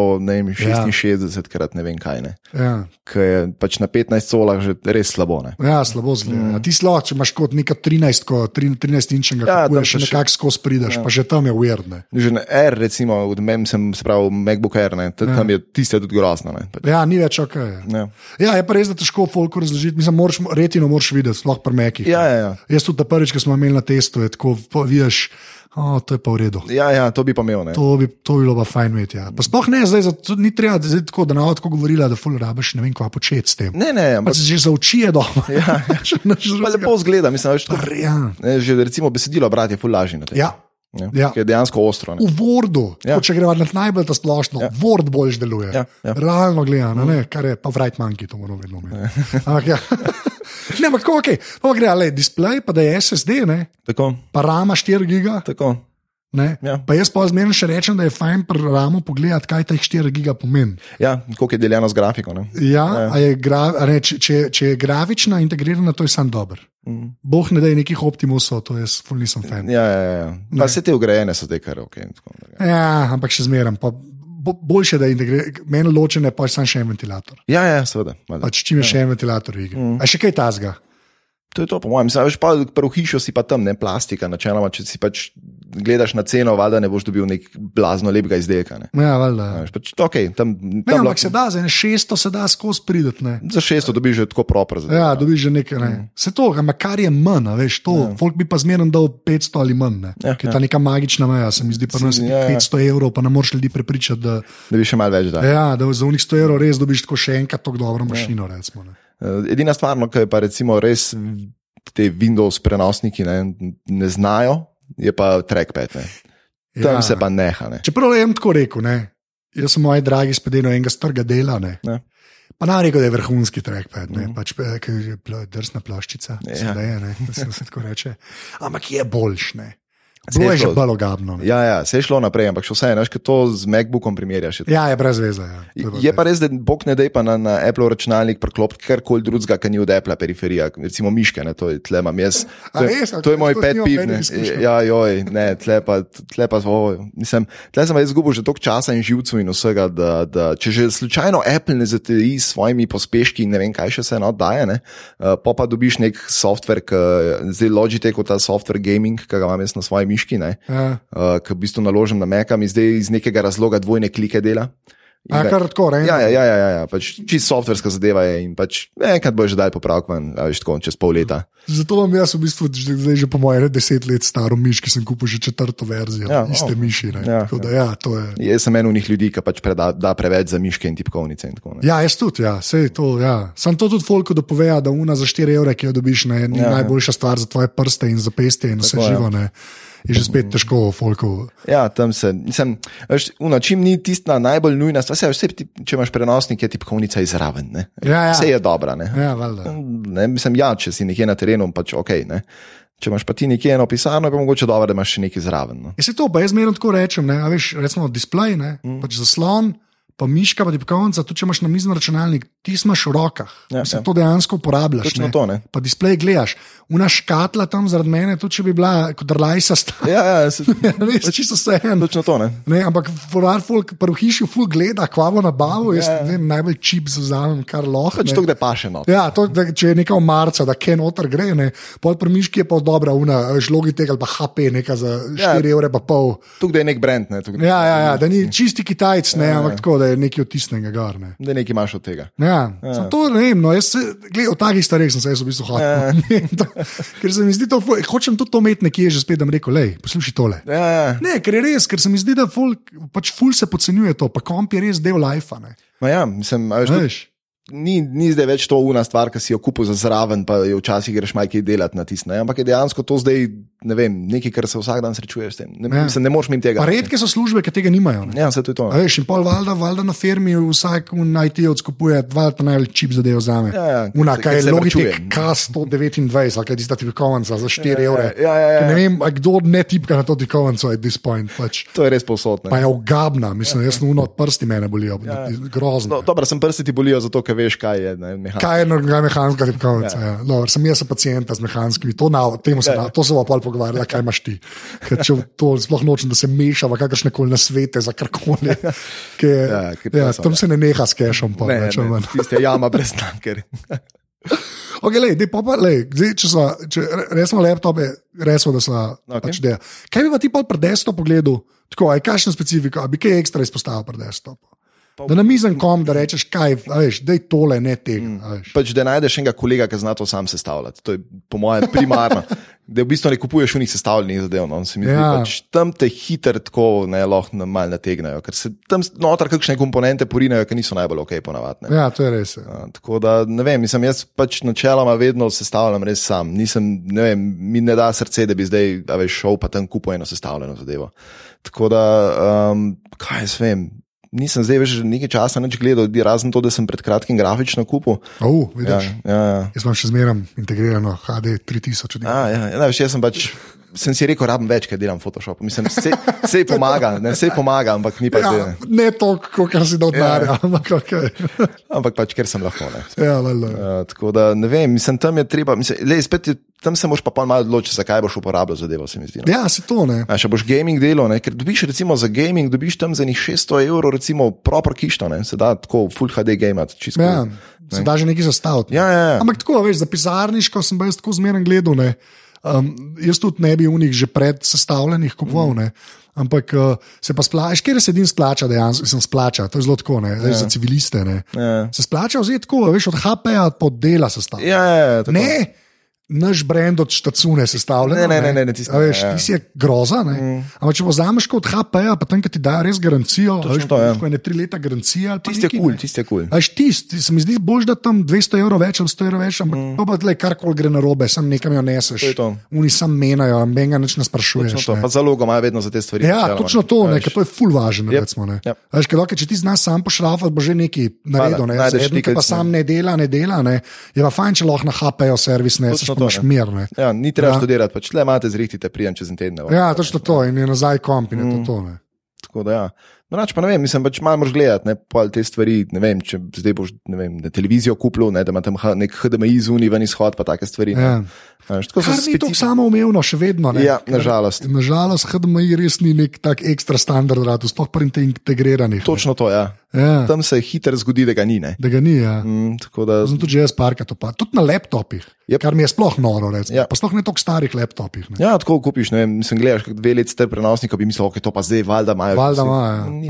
Speaker 2: 1366 ja. krat ne vem kaj, ne.
Speaker 1: Ja.
Speaker 2: Ki je pač na 15 solah že res slabo, ne.
Speaker 1: Ja, slabo zgleda. Mm. Ti slabo, če imaš kot neka 13, ko 13 inčnega,
Speaker 2: Ja,
Speaker 1: ja,
Speaker 2: tam
Speaker 1: kupuješ,
Speaker 2: pa
Speaker 1: še
Speaker 2: še-
Speaker 1: nekako skozi prideš, ja. pa že tam je uverne.
Speaker 2: Že na R, recimo, od mem sem spravil MacBook Air, ne, ta- tam je tiste tudi grozno. Ne. Pač,
Speaker 1: Ja, ni več ok. Ja.
Speaker 2: ne.
Speaker 1: ja, je pa res, da težko folku razložiti, mislim, moraš, retino moraš videti, sploh pri mekih.
Speaker 2: Ja, ja, ja.
Speaker 1: Jaz tudi ta prvič, ko smo imeli na testu, je tako, po- vidiš, oh, to je pa v redu.
Speaker 2: Ja, ja, to bi pa imel. Ne.
Speaker 1: To bi, to bi bilo pa fajn imeti. Ja. Pa sploh ne, zdaj, zato, ni treba, da zdaj tako, da na odko govorila, da ful rabiš, ne vem, kva početi s tem.
Speaker 2: Ne, ne,
Speaker 1: Pa
Speaker 2: ampak
Speaker 1: se že zauči je dobro. Ja,
Speaker 2: pa lepo zgleda, mislim, veš, tako,
Speaker 1: Ja.
Speaker 2: ne, že recimo besedilo, brat, je full lažje na tem.
Speaker 1: ja.
Speaker 2: Ne,
Speaker 1: Ja.
Speaker 2: Ker je dejansko ostro. Ne.
Speaker 1: V Wordu,
Speaker 2: Ja.
Speaker 1: ja. če gremo na najbolj ta splošno, ja. Word bolj deluje.
Speaker 2: Ja, ja.
Speaker 1: Realno gledano, ne, kar je pa vrajt manjki, to moramo vedno imeti. Ampak ja. Ne, ampak tako, okay. pa gre, le display, pa da je SSD, ne,
Speaker 2: Tako,
Speaker 1: pa rama 4 giga.
Speaker 2: tako.
Speaker 1: Ne.
Speaker 2: Ja.
Speaker 1: Pa jaz pa zmerno še rečem, da je fajn pri ramu pogledati, kaj ta 4 giga pomeni.
Speaker 2: Ja, koliko je deljeno z grafiko. Ne.
Speaker 1: Ja, a je gra, a ne, če, če, če je grafična integrirana, to je sam dober.
Speaker 2: Mm.
Speaker 1: Bog ne da je nekih optimusov, to jaz ful nisem fan.
Speaker 2: Ja, ja, ja. Pa vse te ugrajene so te kar ok. in tako naprej.
Speaker 1: Ja, ampak še zmeraj. Bo, boljše, da je integriran, meni ločene, pa je sam še en ventilator.
Speaker 2: Ja, ja, seveda. valjda.
Speaker 1: Pač čim je še en ventilator v igri. Mm. A še kaj tazga?
Speaker 2: To je to, po mojem. Mislim, veš, pa prvo hišo si pa tam, ne plastika, načeloma, če si pač gledaš na ceno, vada ne boš dobil nek blazno lepega izdelka. Ne.
Speaker 1: Ja, valjda.
Speaker 2: A veš, Pač, ok, tam,
Speaker 1: Ne,
Speaker 2: tam
Speaker 1: ampak
Speaker 2: lahko,
Speaker 1: se da, za ene 600 se da skozi prideti. ne.
Speaker 2: za 600 dobiš že tako propr. Zdaj,
Speaker 1: Ja, dobiš že nekaj.
Speaker 2: Mm.
Speaker 1: Ne. Se to, ampak kar je manj, a veš, to, folk bi pa zmerno dal 500 ali manj. Ne.
Speaker 2: Ja,
Speaker 1: Ker je ta neka magična meja, se mi zdi, pa nas je
Speaker 2: Ja, ja.
Speaker 1: 500 evrov, pa ne moreš ljudi prepričati, da.
Speaker 2: da bi še malo več dal.
Speaker 1: Ja, da za unih 100 evrov res dobiš tako še enkrat tako dobro
Speaker 2: Ja.
Speaker 1: mašino. Recimo, ne.
Speaker 2: Eh, Edina stvar, no, ki je pa recimo res te Windows prenosniki ne, ne znajo, je pa trackpad. Ne. Tam ja. se pa neha. Ne.
Speaker 1: Čeprav je jim tako rekel, ne. jaz sem moj dragi spedeno enega strga dela. Ne.
Speaker 2: Ne.
Speaker 1: Pa nam rekel, da je vrhunski trackpad, ne, pač, eh, ker je pl- drsna ploščica,
Speaker 2: Mhm. Ja.
Speaker 1: ja. da je, ne, da se vse tako reče. Ampak je boljš, ne.
Speaker 2: Se
Speaker 1: Bilo
Speaker 2: je
Speaker 1: je že
Speaker 2: šlo.
Speaker 1: balogabno. ne.
Speaker 2: Ja, ja, se je šlo naprej, ampak še vse, znaš, ker to z MacBookom primerjaš. je
Speaker 1: Ja, je brez veze. Ja. To
Speaker 2: Je je pa res, da bog ne da je pa na, na Apple računalnik priklopiti karkoli drugega, kar ni od Apple periferija, recimo miške, ne, to je tle imam jaz.
Speaker 1: A
Speaker 2: To je,
Speaker 1: res? A
Speaker 2: to je
Speaker 1: to
Speaker 2: moj
Speaker 1: s
Speaker 2: pet
Speaker 1: njim
Speaker 2: piv,
Speaker 1: nobenih
Speaker 2: ne.
Speaker 1: izkušenj?
Speaker 2: Ja, joj, ne, tle pa, tle pa, oj, mislim, tle sem pa izgubil že toliko časa in živcev in vsega, da, da če že slučajno Apple ne zateji s svojimi pospeški in ne vem, kaj še se eno daje, ne, eh, po pa dobiš nek software, ki zdaj Logitech, kot ta software gaming, ki ga imam jaz na svoji miški, ne,
Speaker 1: Ja.
Speaker 2: uh, ki v bistvu naložim na Maca in zdaj iz nekega razloga dvojne klike dela. In
Speaker 1: A,
Speaker 2: da-
Speaker 1: kar tako, ne?
Speaker 2: Ja, ja, ja, ja, ja, ja. Pač, čist softverska zadeva je in pač enkrat boš dal popravek ven, a veš, tako čez pol leta.
Speaker 1: Zato imam jaz v bistvu že- zdaj že po mojem deset let staro miš, ki sem kupil že četrto verzijo,
Speaker 2: Ja,
Speaker 1: ja, iste
Speaker 2: o.
Speaker 1: oh. miši. ne.
Speaker 2: Ja,
Speaker 1: Tako da, ja, to je.
Speaker 2: Jaz sem en od njih ljudi, ki pač preda, da preveč za miške in tipkovnice. In tako, ne.
Speaker 1: Ja, jaz tudi, ja, sej to. Ja. Sam to tudi folko dopoveja, da una za 4 evre, ki jo dobiš, ne, ni
Speaker 2: Ja,
Speaker 1: ja,
Speaker 2: ja.
Speaker 1: najboljša stvar za tvoje prste in za peste in vse
Speaker 2: Tako,
Speaker 1: Tako,
Speaker 2: ja.
Speaker 1: živo. Ne. Je že spet težko, folko.
Speaker 2: ja, tam se, mislim, veš, una, čim ni tista najbolj nujna stvar, se, vse, če imaš prenosnik, je tipkovnica izraven. Ne.
Speaker 1: Ja, ja.
Speaker 2: Vse je dobra. Ne.
Speaker 1: Ja, valjda.
Speaker 2: Ne, mislim, ja, če si nekje na terenu, pač ok. Ne. Če imaš pa ti nekje eno pisarno, je pa mogoče dobro, da imaš še nekaj zraven. No.
Speaker 1: Jaz se Ja, to, pa jaz zmerno tako rečem, ne, a veš, recimo display, ne, mm. pač zaslon, pa miška, pa tipkovnica, tudi če imaš na mizni računalnik, ti imaš v rokah.
Speaker 2: Ja,
Speaker 1: Ja, Mislim,
Speaker 2: ja.
Speaker 1: ja. to dejansko uporabljaš.
Speaker 2: Točno to, ne.
Speaker 1: Pa display gledaš. Una škatla tam zaradi mene, tudi če bi bila kot rlajsa stara.
Speaker 2: Ja, ja, se,
Speaker 1: Res, čisto vse en.
Speaker 2: točno to. Ne.
Speaker 1: Ne, ampak forar folk prvo hišo ful gleda, kvavo nabavo, jaz ne vem, najbolj čip zauzamem, kar lahko.
Speaker 2: Pač
Speaker 1: ne.
Speaker 2: to, kde paše. No.
Speaker 1: Ja, to, da, če je nekaj v marcu, da ken otar gre, ne, pol premiški je pa dobra, una, žlogi tega ali pa HP, neka za 4 ja. evre pa pol.
Speaker 2: Tukaj je nek brand, ne, tukaj,
Speaker 1: Ja, ja, ja, da ni čisti kitajc, ne, ampak tako, da je nekaj odtisnega garne.
Speaker 2: da nekaj imaš od tega.
Speaker 1: Ja, ja. To ne vem, no, jaz se, gled, o takih stvareh sem se jaz v bistvu hodil. Ja. Ker se mi zdi to, ful- hočem tudi to imeti nekje, že spet, da mi reko, lej, poslušaj tole.
Speaker 2: Ja, ja.
Speaker 1: Ne, ker je res, ker se mi zdi, da folk, pač ful se podcenjuje to, pa komp je res del lajfa.
Speaker 2: Ma ja, mislim, a veš, tudi,
Speaker 1: Veš,
Speaker 2: ni, ni zdaj več to ura stvar, ki si jo kupil za zraven, pa jo včasih greš malo kaj delati na tisto. ne, Ampak je dejansko to zdaj ne vem, nekaj, kar se vsak dan srečuješ s tem. Ne, ja.
Speaker 1: Ja.
Speaker 2: mislim, ne moreš jim tega.
Speaker 1: pa redke so službe, ki tega nimajo. Ne?
Speaker 2: Ja, vse to je to.
Speaker 1: A Veš, in pol valjda, valjda na firmi vsak v IT-ovcu kupuje dva ta najbolj čip zadev za me.
Speaker 2: Ja, ja,
Speaker 1: Una,
Speaker 2: ker se-
Speaker 1: kaj
Speaker 2: ker se
Speaker 1: je Logitech
Speaker 2: varčujem.
Speaker 1: K129, ali kaj je tista tipkovnica za 4 evre.
Speaker 2: ja, ja, ja.
Speaker 1: Ne vem, a kdo ne tipka na to tipkovnico at this point. Pač.
Speaker 2: To je res povsod. ne.
Speaker 1: Pa je ogabna, mislim, jaz sem uno od prsti mene bolijo, ja, grozno.
Speaker 2: No, dobro, sem prsti ti bolijo, zato ker veš, kaj je. Ne, mehanika.
Speaker 1: Kaj je neka mehanska tipkovnica? Ja. No, sem jaz pacijent z mehanskimi, to, na, temu
Speaker 2: Ja.
Speaker 1: se, na, to se bo pol pogovarjala, kaj imaš ti. Ker če to sploh nočem, da se meša v kakršne koli nasvete za karkoli. Ja,
Speaker 2: Ja, ker to
Speaker 1: ja,
Speaker 2: so,
Speaker 1: tam
Speaker 2: ja.
Speaker 1: se ne neha s kešom, pa
Speaker 2: Ne,
Speaker 1: rečem.
Speaker 2: ne, tiste jama brez tanker.
Speaker 1: Okay, lej, dej, pa, pa, lej, zdaj, če smo, če resmo laptope, resmo, da smo. Okay.
Speaker 2: Okej.
Speaker 1: Pač ideja. kaj bi pa ti pol pred desktop pogledal, tako, aj kakšno specifiko, a bi kaj ekstra izpostavil pred desktop? Da na mizen kom, da rečeš, kaj, a veš, da je tole, ne tega. a veš.
Speaker 2: Pač, da najdeš enega kolega, ki zna to sam sestavljati. To je, po mojem, primarno. Da v bistvu ne kupuješ unih sestavljenih zadev. No. Se mi zdi,
Speaker 1: Ja.
Speaker 2: ja. pač, tam te hitro tako ne, lahko na- malo nategnajo, ker se tam noter kakšne komponente porinejo, ki niso najbolj ok, ponavadne.
Speaker 1: Ja, to je res. Ja.
Speaker 2: Ja, Tako da ne vem, mislim, jaz pač načeloma vedno sestavljam res sam. Nisem, ne vem, mi ne da srce, da bi zdaj a veš, šel pa tam kupo eno sestavljeno zadevo. Tako da, um, kaj jaz vem. Nisem zdaj več nekaj časa nič gledal, razen to, da sem pred kratkim grafično kupil.
Speaker 1: Oh,
Speaker 2: Ja,
Speaker 1: vidiš, ja.
Speaker 2: ja, ja.
Speaker 1: Jaz imam še zmeraj integrirano HD 3000. od njega.
Speaker 2: A, ja, ja, veš, jaz sem pač. Sem si rekel, rabim več, ker delam Photoshop. Mislim, vse, vse pomaga, ne, vse pomaga, ampak ni pa ja.
Speaker 1: Ja, ne toliko, kar si dal denarja, ampak okay.
Speaker 2: Ampak pač, ker sem lahko. Ne.
Speaker 1: ja, le, le.
Speaker 2: Uh, tako da ne vem, mislim, tam je treba, mislim, lej, spet je, tam se moraš pa pol malo odločiti, zakaj boš uporabljal zadevo. Se mi zdi. no.
Speaker 1: ja, se to ne.
Speaker 2: A, še boš gaming delal, ne? ker dobiš recimo za gaming, dobiš tam za njih 600 evrov, recimo, proper kišto, ne? se da tako full HD gaming, čisto.
Speaker 1: Ja, se da že nekaj zastaviti.
Speaker 2: Ja, ja, ja.
Speaker 1: Ampak tako, veš, za pisarniško sem pa jaz tako zmeren gledal. Ne. Um, jaz tudi ne bi unih že pred sestavljenih kupoval.
Speaker 2: Mhm.
Speaker 1: Mm. Ampak uh, se pa splača, kjer se edin splača, dejansko se splača, to je zelo tako, ne, ja. za civiliste. Ne.
Speaker 2: Ja.
Speaker 1: Se splača vzeti tako, veš, od HP-ja pod dela sestavljen.
Speaker 2: Ja, ja, ja, tako.
Speaker 1: Ne, naš brend od štacune sestavljen.
Speaker 2: Ne, ne, ne, ne, ne, tisto
Speaker 1: A veš,
Speaker 2: ne, ja. Mhm.
Speaker 1: ti si je groza. Mm. Ampak če vzameš kot HP-ja, pa tam, ki ti dajo res garancijo, a veš,
Speaker 2: to, ja.
Speaker 1: ko je ne tri leta garancija. ali pa
Speaker 2: Tisti je
Speaker 1: nekaj,
Speaker 2: kul, cool,
Speaker 1: ne. Ja,
Speaker 2: tisti je kul. Cool.
Speaker 1: Až tisti, se mi zdi, bož da tam 200 evrov več, ali 100 evrov več, ampak mm. pa tle, kar koli gre na robe, sam nekam jo neseš.
Speaker 2: To je to.
Speaker 1: Oni sam menajo, noben ga nič ne sprašuješ.
Speaker 2: To,
Speaker 1: ne.
Speaker 2: Pa zalogo imajo vedno za te stvari.
Speaker 1: Ja, točno to, ne, ker to je ful važno.
Speaker 2: Jep,
Speaker 1: Yep. Recimo, ne.
Speaker 2: jep.
Speaker 1: Veš, ker, dokaj, če ti znaš sam pošrafati, bo že neki naredil. Ne.
Speaker 2: najdeš
Speaker 1: Eden, ki pa
Speaker 2: nekaj,
Speaker 1: sam ne dela, ne dela, ne. je pa fajn, če lahko nahapejo servis, ne, seš pa
Speaker 2: Točno to,
Speaker 1: imaš
Speaker 2: ne.
Speaker 1: mir. Ne.
Speaker 2: Ja, ni treba
Speaker 1: Ja.
Speaker 2: ja. študirati, pač le imate zrihtite, prijem čez en teden. ne,
Speaker 1: Ja, točno to in je nazaj komp in je
Speaker 2: Mm.
Speaker 1: to. to ne.
Speaker 2: Tako da, ja. Drugač pa ne vem, mislim, pač malo moraš gledati, ne pa te stvari. Ne vem, če zdaj boš ne vem, na televizijo kupil, ne, da ima tam H- nek HDMI zunaj, ven izhod, pa take stvari. ne.
Speaker 1: Ja.
Speaker 2: A veš, Tako so
Speaker 1: Kar ni
Speaker 2: specifi-
Speaker 1: tako samoumevno, še vedno. Ne.
Speaker 2: Ja, nažalost.
Speaker 1: Nažalost, HDMI res ni nek tak ekstra standard, rad, sploh pri teh integriranih. ne.
Speaker 2: Točno to, ja.
Speaker 1: Ja,
Speaker 2: Tam se hitro zgodi, da ga ni. Ne.
Speaker 1: da ga ni. Ja.
Speaker 2: Mm, tako da,
Speaker 1: Sem tudi jaz parkrat opazil, tudi na laptopih, yep.
Speaker 2: Jep.
Speaker 1: kar mi je sploh noro. Recimo,
Speaker 2: Ja.
Speaker 1: yep. Pa sploh ne tako starih laptopih. Ne.
Speaker 2: ja, tako kupiš, ne vem, mislim, gledaš kak dve leti star prenosnik, bi mislil, ok, to pa zdaj, valjda imajo.
Speaker 1: Valjda
Speaker 2: Mislim,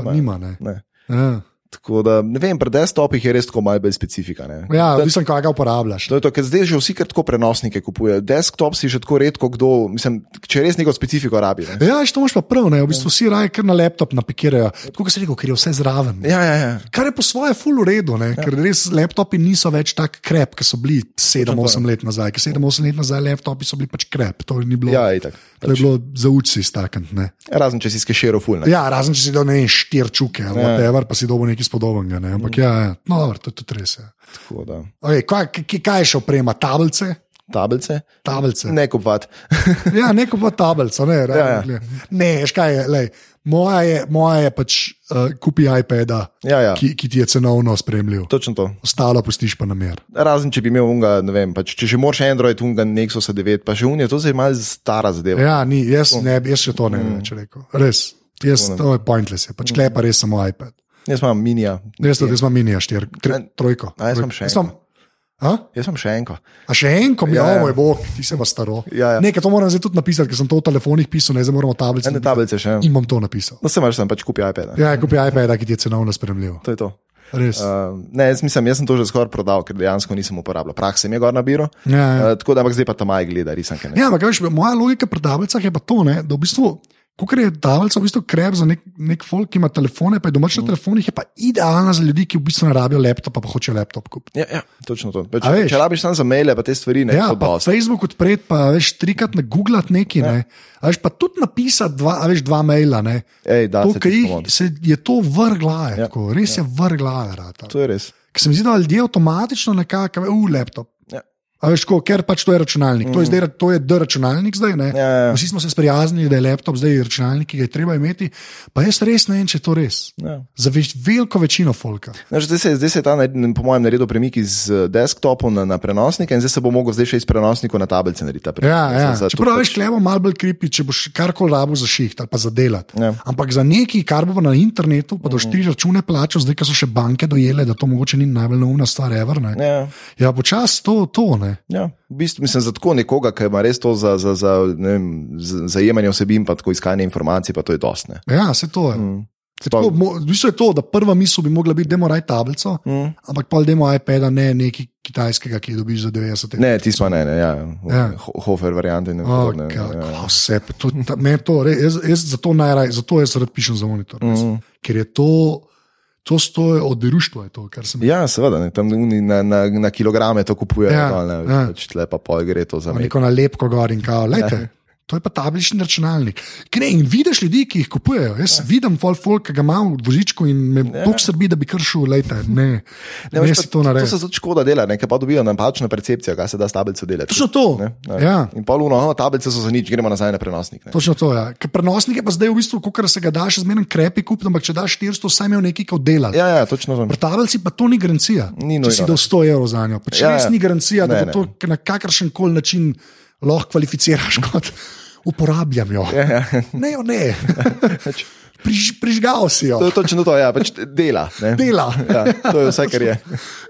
Speaker 1: ima, ja.
Speaker 2: nimajo.
Speaker 1: Pa nima. Ne.
Speaker 2: Ne.
Speaker 1: Ja,
Speaker 2: Tako da, ne vem, pri desktopih je res tako malce bolj specifika. Ne.
Speaker 1: ja mislim, kaj ga uporabljaš.
Speaker 2: To je to, ker zdaj že vsi kar tako prenosnike kupujejo. Desktop si že tako redko kdo, mislim, če res neko specifiko rabi. Ne.
Speaker 1: Ja, veš, to imaš pa prav, ne? v bistvu
Speaker 2: Ja.
Speaker 1: vsi raje kar na laptop napikirajo. Tako kot si rekel, ker je vse zraven. ne.
Speaker 2: Ja, ja, ja.
Speaker 1: Kar je po svoje ful uredu, ja. ker res laptopi niso več tako krep, kot so bili 7-8 let nazaj. Ker 7-8 let nazaj laptopi so bili pač krep, to ni bilo.
Speaker 2: Ja, itak.
Speaker 1: To je bilo zauči stakant. Ne?
Speaker 2: Razen če si skeširal fulno.
Speaker 1: Ja, razen če si dal ne vem, štiri čuke ali ja. whatever, pa si dobil nekaj podobnega. Ne? Ampak ja, ja. No, dobro, to je tudi res. Ja.
Speaker 2: Ja.
Speaker 1: Okay, kaj, kaj- kaj je še oprema? Tablice?
Speaker 2: Tablice,
Speaker 1: Tablice.
Speaker 2: ne kupovat.
Speaker 1: Ja, neko pa tablico, ne, ja,
Speaker 2: Ja, ja.
Speaker 1: ja. ne, veš kaj je, lej, moja je, moja je pač uh, kupi iPada,
Speaker 2: ja, ja.
Speaker 1: ki, ki ti je cenovno spremljiv.
Speaker 2: Točno to.
Speaker 1: Ostalo pustiš pa na mer.
Speaker 2: Razen če bi imel unga, ne vem, pač, če že moraš Android, unga Nexus 9, pa še unija, to zdaj je malce stara zadeva.
Speaker 1: Ja, ni, jaz, ne, bi- jaz še to
Speaker 2: Mm.
Speaker 1: ne bi več rekel. Res, jaz, to je pointless, je. pač klepa res samo iPad.
Speaker 2: Jaz imam minija,
Speaker 1: Jaz tudi jaz imam minija štir, tri, trojko.
Speaker 2: A, jaz imam še
Speaker 1: imam- A?
Speaker 2: jaz imam še enko.
Speaker 1: A še en, ko mi je,
Speaker 2: Ja, ja.
Speaker 1: moj bog, ti se pa staro.
Speaker 2: Ja, ja.
Speaker 1: Nekaj to moram zdaj tudi napisati, ker sem to v telefonih pisal, ne zdaj moramo tablice.
Speaker 2: Ene
Speaker 1: napisati.
Speaker 2: tablice še.
Speaker 1: In bom to napisal.
Speaker 2: No, sem več, sem pač kupil iPad. Ja.
Speaker 1: Ja, kupi iPad, ki ti je cenovno spremljiv.
Speaker 2: To je to.
Speaker 1: Res.
Speaker 2: Uh, ne, jaz, mislim, jaz sem to že skoraj prodal, ker dejansko nisem uporabljal. Prah se mi je gor nabiral.
Speaker 1: Ja, ja.
Speaker 2: Uh, tako da, ampak zdaj pa tam maj gleda, risanke. Ne.
Speaker 1: Ja, ampak veš, moja logika pri tablicah je pa to, ne, da v bistvu, ko je tablica v bistvu krep za nek, nek folk, ki ima telefone, pa je domač na
Speaker 2: Mhm.
Speaker 1: telefonih, je pa idealna za ljudi, ki v bistvu ne rabijo laptopa, pa hočejo laptop kupiti.
Speaker 2: Ja, ja, točno to. Pač,
Speaker 1: A veš?
Speaker 2: če rabiš tam za maile, pa te stvari ne,
Speaker 1: Ja,
Speaker 2: to
Speaker 1: pa
Speaker 2: dosti. Ja.
Speaker 1: Facebook odpred, pa veš, trikrat ne googlati nekaj, ne. A veš, pa tudi napisati dva, a veš, dva maila, ne.
Speaker 2: Ej, da,
Speaker 1: To,
Speaker 2: se
Speaker 1: kar
Speaker 2: ti
Speaker 1: jih
Speaker 2: spomnim.
Speaker 1: se je to vrgla, je, ja.
Speaker 2: Ja.
Speaker 1: tako, res ja. je vrgla.
Speaker 2: to je res.
Speaker 1: Ker se mi zdi, da ljudje avtomatično nekako, uf, laptop.
Speaker 2: Ja.
Speaker 1: A veš, ko, ker pač to je računalnik, mm. to je zdaj ra- to je D računalnik zdaj. ne.
Speaker 2: Ja, ja.
Speaker 1: Vsi smo se sprijaznili, da je laptop zdaj računalnik, ki ga je treba imeti. Pa jaz res ne vem, če je to res.
Speaker 2: Ja.
Speaker 1: Za več, veliko večino folka.
Speaker 2: Znaš, zdaj, se, zdaj se je ta, nared- po mojem, naredil premik iz eh, desktopov na, na prenosnike, in zdaj se bo mogel zdaj še iz prenosnikov na tablice narediti. ta premik.
Speaker 1: Ja, ja.
Speaker 2: Zdaj, zato-
Speaker 1: Čeprav veš, klevo malo bolj kripi, če boš karkoli rabo za šiht ali pa za delati.
Speaker 2: Ja. Mhm.
Speaker 1: Ampak za nekaj, kar bo na internetu, pa doš ti račune plačal, zdaj, ker so še banke dojele, da to mogoče ni najbolj neumna stvar, ever. Ne.
Speaker 2: Ja,
Speaker 1: Ja, počasi to, to ne.
Speaker 2: ja. V bistvu mislim, za tako nekoga, ki ima res to za, za, za, ne vem, za zajemanje vsebin, pa tako iskanje informacij, pa to je dosne.
Speaker 1: Ja, se to je. Mm.
Speaker 2: Mm.
Speaker 1: Tako, mo, v bistvu je to, da prva misel bi mogla biti, da moramo raj tablico,
Speaker 2: Mm.
Speaker 1: ampak pol demo iPada, ne nekaj kitajskega, ki ga dobiš za 90 evrov.
Speaker 2: Ne, ti smo ne, ne, ja.
Speaker 1: Ja.
Speaker 2: ja. Hofer variante. Ne,
Speaker 1: Oh,
Speaker 2: podobne,
Speaker 1: God,
Speaker 2: ja.
Speaker 1: oh, vse, pa to, ta, meni to, re, jaz, jaz zato najraje, zato jaz rad pišem za monitor, res.
Speaker 2: Mm.
Speaker 1: ker je to, to stoje od društva, je to, kar sem
Speaker 2: Ja, seveda, ne, tam oni na, na, na kilograme to kupujejo,
Speaker 1: Ja,
Speaker 2: ja, ne,
Speaker 1: ja.
Speaker 2: ja. pač tle pa pol gre to za
Speaker 1: Pa
Speaker 2: mleko.
Speaker 1: neko nalepko gor in kao,
Speaker 2: Ja.
Speaker 1: lete. To je pa tablični računalnik. Ki Ne, in vidiš ljudi, ki jih kupujejo. Jaz ja. vidim pol folk, ki ga imam v vozičku in me ja. tok srbi, da bi kršil, lete. Ne, ne, ne
Speaker 2: veš,
Speaker 1: si to
Speaker 2: pa- to
Speaker 1: naredi.
Speaker 2: se tudi škoda dela, ne, ker pa dobijo napačno percepcijo, kaj se da s tablico delati.
Speaker 1: Točno to.
Speaker 2: Ne, ne.
Speaker 1: Ja.
Speaker 2: In pa luno, no, tablice so za nič, gremo nazaj na prenosnik. Ne.
Speaker 1: Točno to, ja. Ker prenosnik je pa zdaj v bistvu, kot se ga da, še zmeraj krepi kupiti, ampak če daš 400, saj imaš nekaj kot dela.
Speaker 2: Ja, ja, točno tam.
Speaker 1: Pri tablici pa to ni garancija. če
Speaker 2: Ni nujno,
Speaker 1: si dal 100 evrov za njo, pač ja,
Speaker 2: Ja,
Speaker 1: res
Speaker 2: ja.
Speaker 1: ni garancija, da bo
Speaker 2: Ne,
Speaker 1: to na kakršen koli način lahko kvalificiraš kot uporabljam jo.
Speaker 2: Ja, ja.
Speaker 1: Ne, jo ne. Priž, prižgal si jo.
Speaker 2: To je točno to, ja, pač dela. ne.
Speaker 1: Dela.
Speaker 2: Ja, to je vse, kar je.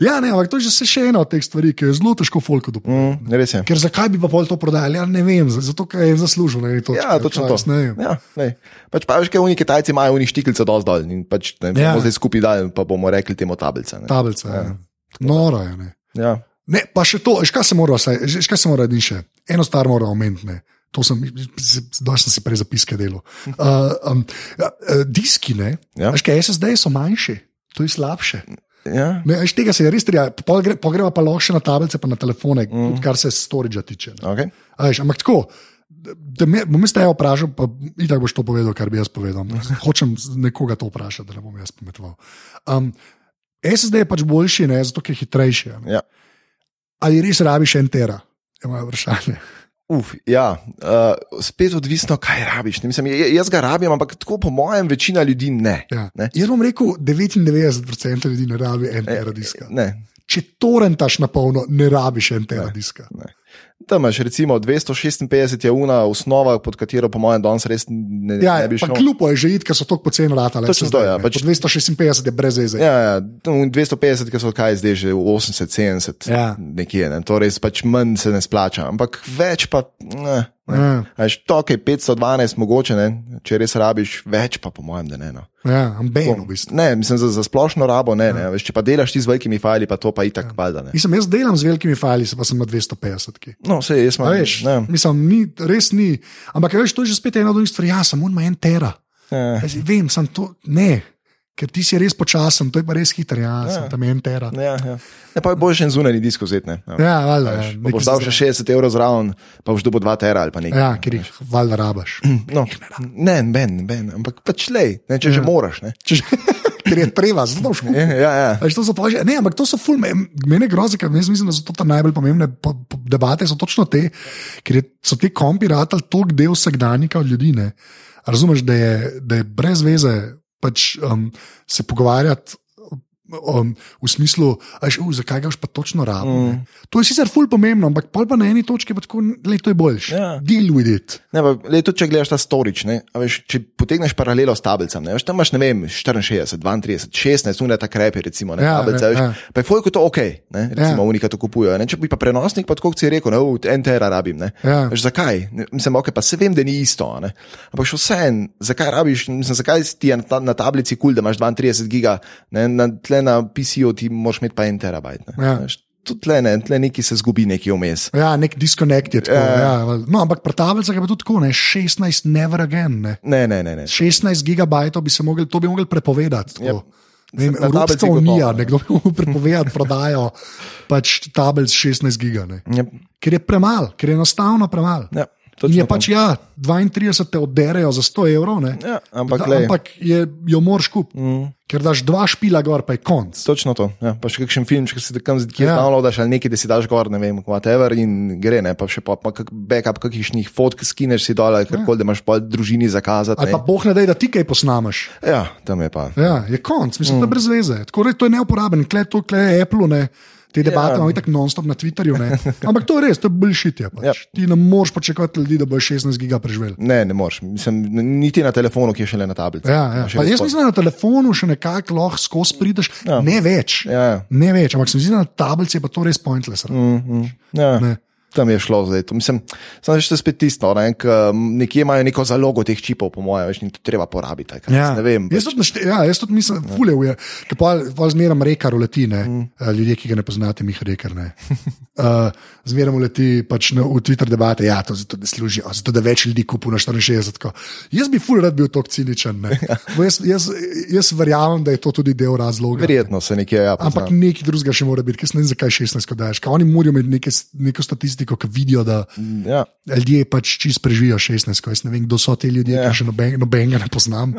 Speaker 1: Ja, ne, ampak to je že še ena od teh stvari, ki jo je zelo težko folko dopuščati.
Speaker 2: Mm, res je.
Speaker 1: Ker zakaj bi pa pol to prodajali? Ja, ne vem, za- zato ker je zaslužil. Ne, točka,
Speaker 2: Ja, točno to.
Speaker 1: Pač, Ne, vem.
Speaker 2: Ja, lej. pač pa veš, kaj oni Kitajci imajo, oni štiklice dozdol dol in pač ne,
Speaker 1: Ja.
Speaker 2: ja. bomo zdaj skupaj dali, pa bomo rekli temu tablice. ne.
Speaker 1: tablica. Ja. Noro je. Ne.
Speaker 2: Ja.
Speaker 1: ne, pa še to, veš, kaj se mora, saj- veš, kaj se mora in še. Eno stvar mora omeniti. ne. To sem, zdaj sem si prej zapiske delal. Uh, um, ja, eh, diski, ne.
Speaker 2: Ja.
Speaker 1: Veš, kaj SSD so manjši, to je slabše.
Speaker 2: Ja.
Speaker 1: Ne, veš, tega se je res treba, pol gre- pol greva pa lahko še na tablice, pa na telefone, mm.
Speaker 2: Mhm.
Speaker 1: kar se storage tiče. ne.
Speaker 2: Okay.
Speaker 1: A Veš, ampak tako. da- Da me, bom jaz te vprašal, pa itak boš to povedal, kar bi jaz povedal. ampak Hočem z- nekoga to vprašati, da ne bom jaz pametoval. Um, SSD je pač boljši, ne, zato ker je hitrejši. a Ne.
Speaker 2: Ja.
Speaker 1: Ali res rabiš en tera? Je moje vprašanje.
Speaker 2: Uf, ja, uh, spet odvisno, kaj rabiš. Ne, mislim, j- jaz ga rabim, ampak tako po mojem, večina ljudi ne.
Speaker 1: Ja.
Speaker 2: Ne. E,
Speaker 1: Jaz bom rekel, 99% ljudi ne rabi en tera diska.
Speaker 2: Ne,
Speaker 1: Če torentaš na polno, ne rabiš en tera diska.
Speaker 2: ne. Tam imaš recimo 256 je una osnova, pod katero po mojem danes res ne,
Speaker 1: Ja,
Speaker 2: ne bi šel.
Speaker 1: kljub je že id, ker so tako poceni ratale.
Speaker 2: Točno
Speaker 1: SSD,
Speaker 2: to, ja,
Speaker 1: ne.
Speaker 2: pač-
Speaker 1: Po 256 je brez veze.
Speaker 2: Ja, ja, tam 250, ki so kaj zdaj, že 80, 70,
Speaker 1: Ja.
Speaker 2: nekje. Ne. To res pač manj se ne splača, ampak več pa. Ne, ne.
Speaker 1: Ja.
Speaker 2: A veš, to, kaj je 512, mogoče ne, če res rabiš, več pa po mojem, da ne. No.
Speaker 1: Ja, amben v bistvu. Ja.
Speaker 2: Ne, mislim za, za splošno rabo, ne, ne. a Veš, če pa delaš ti z velikimi fajli, pa to pa itak valjda ne.
Speaker 1: Mislim, jaz delam z velikimi fajli, se pa sem na 250. ki.
Speaker 2: No, vse jaz
Speaker 1: A
Speaker 2: imam.
Speaker 1: Veš,
Speaker 2: ne.
Speaker 1: mislim, ni, res ni. Ampak a veš, to je že spet ena od njih stvari. Ja, samo on ima en tera.
Speaker 2: Ja,
Speaker 1: Jaz vem, sem to ne, ker ti si res počasen, to je pa res hitro. Ja, sem tam en tera.
Speaker 2: ja, ja. Ne, pa je boljše en zunanji disk vzeti. Ne. Ja.
Speaker 1: Ja, valjda.
Speaker 2: Veš,
Speaker 1: ja,
Speaker 2: pa
Speaker 1: nekaj
Speaker 2: boš dal
Speaker 1: za-
Speaker 2: še 60 evrov zraven, pa boš dobil 2 tera ali pa nekaj.
Speaker 1: Ja, ker jih valjda rabaš.
Speaker 2: No, ne, ben, ben, ampak pač lej, ne,
Speaker 1: Ja.
Speaker 2: če že moraš. Ne.
Speaker 1: Če že- Ker je treba, zelo škoda.
Speaker 2: Ja, ja, ja.
Speaker 1: Veš, to so pa že, ne, ampak to so ful, me- mene grozi, ker jaz mislim, da so to ta najbolj pomembne po, po, debate, so točno te, ker je, so ti kompi ratali toliko del vsakdanjika od ljudi. Ne. Razumeš, da je, da je brez veze pač, um, se pogovarjati. Um, v smislu, až, uh, zakaj ga boš pa točno rabil. Mm. To je sicer ful pomembno, ampak pol pa na eni točki je tako, da je to boljše.
Speaker 2: Ja.
Speaker 1: Deal with it.
Speaker 2: Ne, pa, lej, tudi če gledaš ta storič, ne, a veš, če potegneš paralelo s tablicami, ne, veš, tam imaš ne vem, 64, 32, 16, unaj ta krepi, recimo, ne,
Speaker 1: Ja,
Speaker 2: ja, tablice,
Speaker 1: ne,
Speaker 2: veš,
Speaker 1: ja.
Speaker 2: ja. pa je fojko to ok, ne, recimo, ja. unika to kupujejo. Ne, če bi pa prenosnik, pa tako kot si rekel, ne, v en tera rabim, ne,
Speaker 1: Ja.
Speaker 2: veš, zakaj, Ne, mislim, ok, pa se vem, da ni isto, a ne, ampak še vse en, zakaj rabiš, mislim, zakaj ti je na, ta, na tablici kul, cool, da imaš 32 giga, ne, na, tle na PC-ju ti moraš imeti pa en terabajt, ne,
Speaker 1: Ja.
Speaker 2: veš, tudi tle, ne, tle neki se zgubi, neki vmes.
Speaker 1: Ja, nek disconnect je tako. Ja. Ja, no, ampak pri tablicah je pa tudi tako, ne, 16 never again. Ne.
Speaker 2: Ne, ne, ne, ne.
Speaker 1: 16 gigabajtov bi se mogli, to bi mogli prepovedati. tako.
Speaker 2: Yep.
Speaker 1: Ne Vem,
Speaker 2: Ja. Na
Speaker 1: Evropska
Speaker 2: tablici gotovo,
Speaker 1: unija,
Speaker 2: ne.
Speaker 1: nekdo bi mu prepovedal prodajo pač tabel s 16 gigabajtov,
Speaker 2: Ja,
Speaker 1: ker je premalo, ker je enostavno premalo.
Speaker 2: ja, Točno
Speaker 1: Je
Speaker 2: tam.
Speaker 1: pač ja, 32 te odderejo za 100 evrov, ne?
Speaker 2: Ja, ampak,
Speaker 1: da,
Speaker 2: lej, ampak...
Speaker 1: ampak je, jo moraš kupiti,
Speaker 2: Mm.
Speaker 1: ker daš dva špila gor, pa je konc.
Speaker 2: Točno to. Ja. Pa še kakšen film, če si tam zdaj
Speaker 1: Ja.
Speaker 2: ja. downloadaš ali nekaj, da si daš gor, ne vem, whatever in gre, ne pa še pa, pa kak backup kakšnih fotk skineš si dol ali karkoli, da imaš pa družini zakazati.
Speaker 1: Ali pa
Speaker 2: ne.
Speaker 1: boh ne da, da ti kaj posnameš.
Speaker 2: Ja, tam je pa.
Speaker 1: Ja, je konc, mislim, mm. da je brez veze. Tako, re, to je neuporaben, kle to, kle Apple, ne. Te debate
Speaker 2: Ja.
Speaker 1: imamo tako non-stop na Twitterju. Ne. Ampak to je res, to je bolšitje. Pač.
Speaker 2: Ja.
Speaker 1: Yep. Ti ne moreš pričakovati ljudi, da bojo 16 giga preživeli.
Speaker 2: Ne, ne moreš. Mislim, niti na telefonu, ki je šele na tablici.
Speaker 1: Ja, ja.
Speaker 2: Še
Speaker 1: Pa
Speaker 2: res
Speaker 1: Jaz
Speaker 2: pol.
Speaker 1: mislim, da na telefonu še nekako lahko skozi prideš, ja. ne več.
Speaker 2: Ja, ja.
Speaker 1: Ne več, ampak se mi zdi, da na tablici je pa to res pointless. Mm.
Speaker 2: Ja.
Speaker 1: Ne.
Speaker 2: Tam je šlo zdaj. To, mislim, samo še to je spet tisto, ne, k, nekje imajo neko zalogo teh čipov, po mojem, več ni to treba porabiti. ali Kaj, ja. Ne vem.
Speaker 1: Jaz tudi, našte, ja, jaz tudi mislim, da fuljev je, ki pa, pa zmeraj rekar uleti, mm. ljudje, ki ga ne poznate, mi rekar ne. Uh, zmeraj uleti pač na, v Twitter debate, ja, to zato, da služijo, zato da več ljudi kupuje na 64. Tako. Jaz bi fulj rad bil tako ciničen. ne.
Speaker 2: Ja.
Speaker 1: Bo Jaz, jaz, jaz verjamem, da je to tudi del razloga.
Speaker 2: Verjetno se nekje. Ja, pozna.
Speaker 1: Ampak nekaj drugega še mora biti, ker jaz ne vem, zakaj 16 ko daješ. Kaj Oni morajo imeti neke, s- neko statistiko, ki vidijo, da
Speaker 2: ja.
Speaker 1: ljudje pač čist preživijo 16, ko jaz ne vem, kdo so ti ljudje, yeah.
Speaker 2: Ja.
Speaker 1: ki še noben- nobenega ne poznam.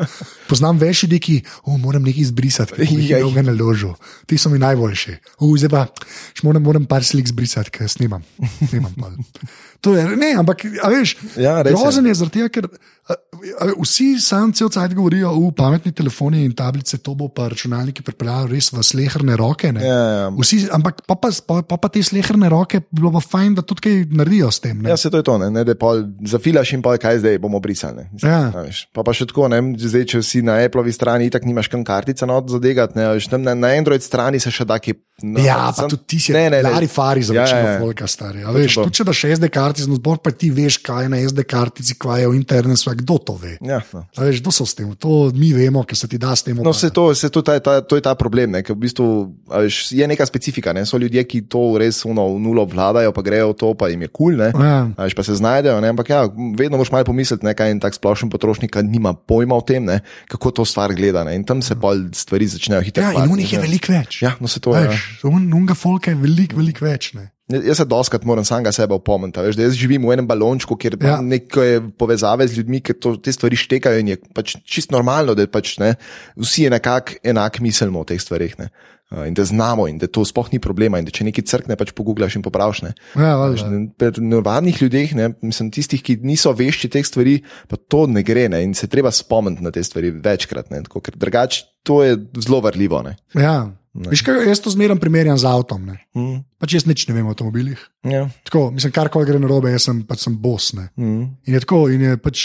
Speaker 1: Poznam več ljudi, ki oh, moram nekaj izbrisati, ker sem jih
Speaker 2: Jaj.
Speaker 1: dolgo naložil. Ti so mi najboljši. Oh, zdaj pa še moram, moram par slik izbrisati, ker snimam. snimam pol. to je, ne, ampak a veš,
Speaker 2: Ja, res je.
Speaker 1: grozen je zaradi tega, ker a, a, vsi sam cel cajt govorijo, o pametni telefoni in tablice, to bo pa računalniki pripeljalo res v slehrne roke. Ne?
Speaker 2: Ja, ja.
Speaker 1: Vsi, ampak pa, pa, pa, pa, pa te slehrne roke, bi bilo pa fajn, da tudi kaj naredijo s tem. ne.
Speaker 2: Ja, se to je to, ne, ne da pol zafilaš in pa kaj zdaj bomo brisali. ne. Mislim,
Speaker 1: Ja.
Speaker 2: a veš. Pa, pa še tako, ne, zdaj, če si na Appleovi strani, tako nimaš kam kartice not zadegati, ne, a veš, tam na, na Android strani se še da ki. No,
Speaker 1: Ja, pa
Speaker 2: sam-
Speaker 1: tudi ti si lari fari za
Speaker 2: Ja,
Speaker 1: večino
Speaker 2: ja, ja.
Speaker 1: folka stari. a Veš,
Speaker 2: to.
Speaker 1: tudi če daš SD kartice na zbor, pa ti veš, kaj je na SD kartici, kaj je v internetu, sva, kdo to ve.
Speaker 2: Ja, no.
Speaker 1: A Veš, kdo so s tem, to mi vemo, ker se ti da s tem.
Speaker 2: No, se to, se to, ta, ta, to je ta problem, ne, ker v bistvu a veš, je neka specifika. Ne, so ljudje, ki to res uno, v nulo obvladajo, pa grejo v to, pa jim je kul, cool, ne,
Speaker 1: Ja.
Speaker 2: a veš, pa se znajdejo. Ne, ampak ja, vedno moraš malo pomisliti, ne, kaj en tak splošen potrošnik ki nima pojma o tem, ne, kako to stvar gleda. Ne, in tam se pol stvari začnejo hitro.
Speaker 1: Ja, in
Speaker 2: kvariti,
Speaker 1: unih je
Speaker 2: ne.
Speaker 1: veliko več.
Speaker 2: Ja, no se to je. Ja.
Speaker 1: Veš, un, unga folka je veliko, veliko več. Ne.
Speaker 2: Jaz jaz se doskrat moram samega sebe opomniti. a veš, da Jaz živim v enem balončku, kjer
Speaker 1: Ja.
Speaker 2: ja. neke povezave z ljudmi, ki to, te stvari štekajo in je pač čist normalno, da pač, ne, vsi enako enak mislimo o teh stvareh. Ne. Uh, In da znamo, in da to sploh ni problema, in da če nekaj crkne, pač pogooglaš in popraviš. Ne.
Speaker 1: Ja,
Speaker 2: Veš,
Speaker 1: valjda.
Speaker 2: ne, Pri navadnih ljudeh, ne, mislim, tistih, ki niso vešči teh stvari, pa to ne gre ne, in se je treba spomniti na te stvari večkrat, ne, tako, ker drugače to je zelo varljivo. Ne.
Speaker 1: ja. Veš, kaj, jaz to zmeraj primerjam z avtom. Ne.
Speaker 2: Mm,
Speaker 1: Pač jaz nič ne vem o avtomobilih.
Speaker 2: ja.
Speaker 1: Tako, mislim, kar koli gre narobe, jaz sem, pač sem bos. Ne.
Speaker 2: mm,
Speaker 1: In je tako, in je pač,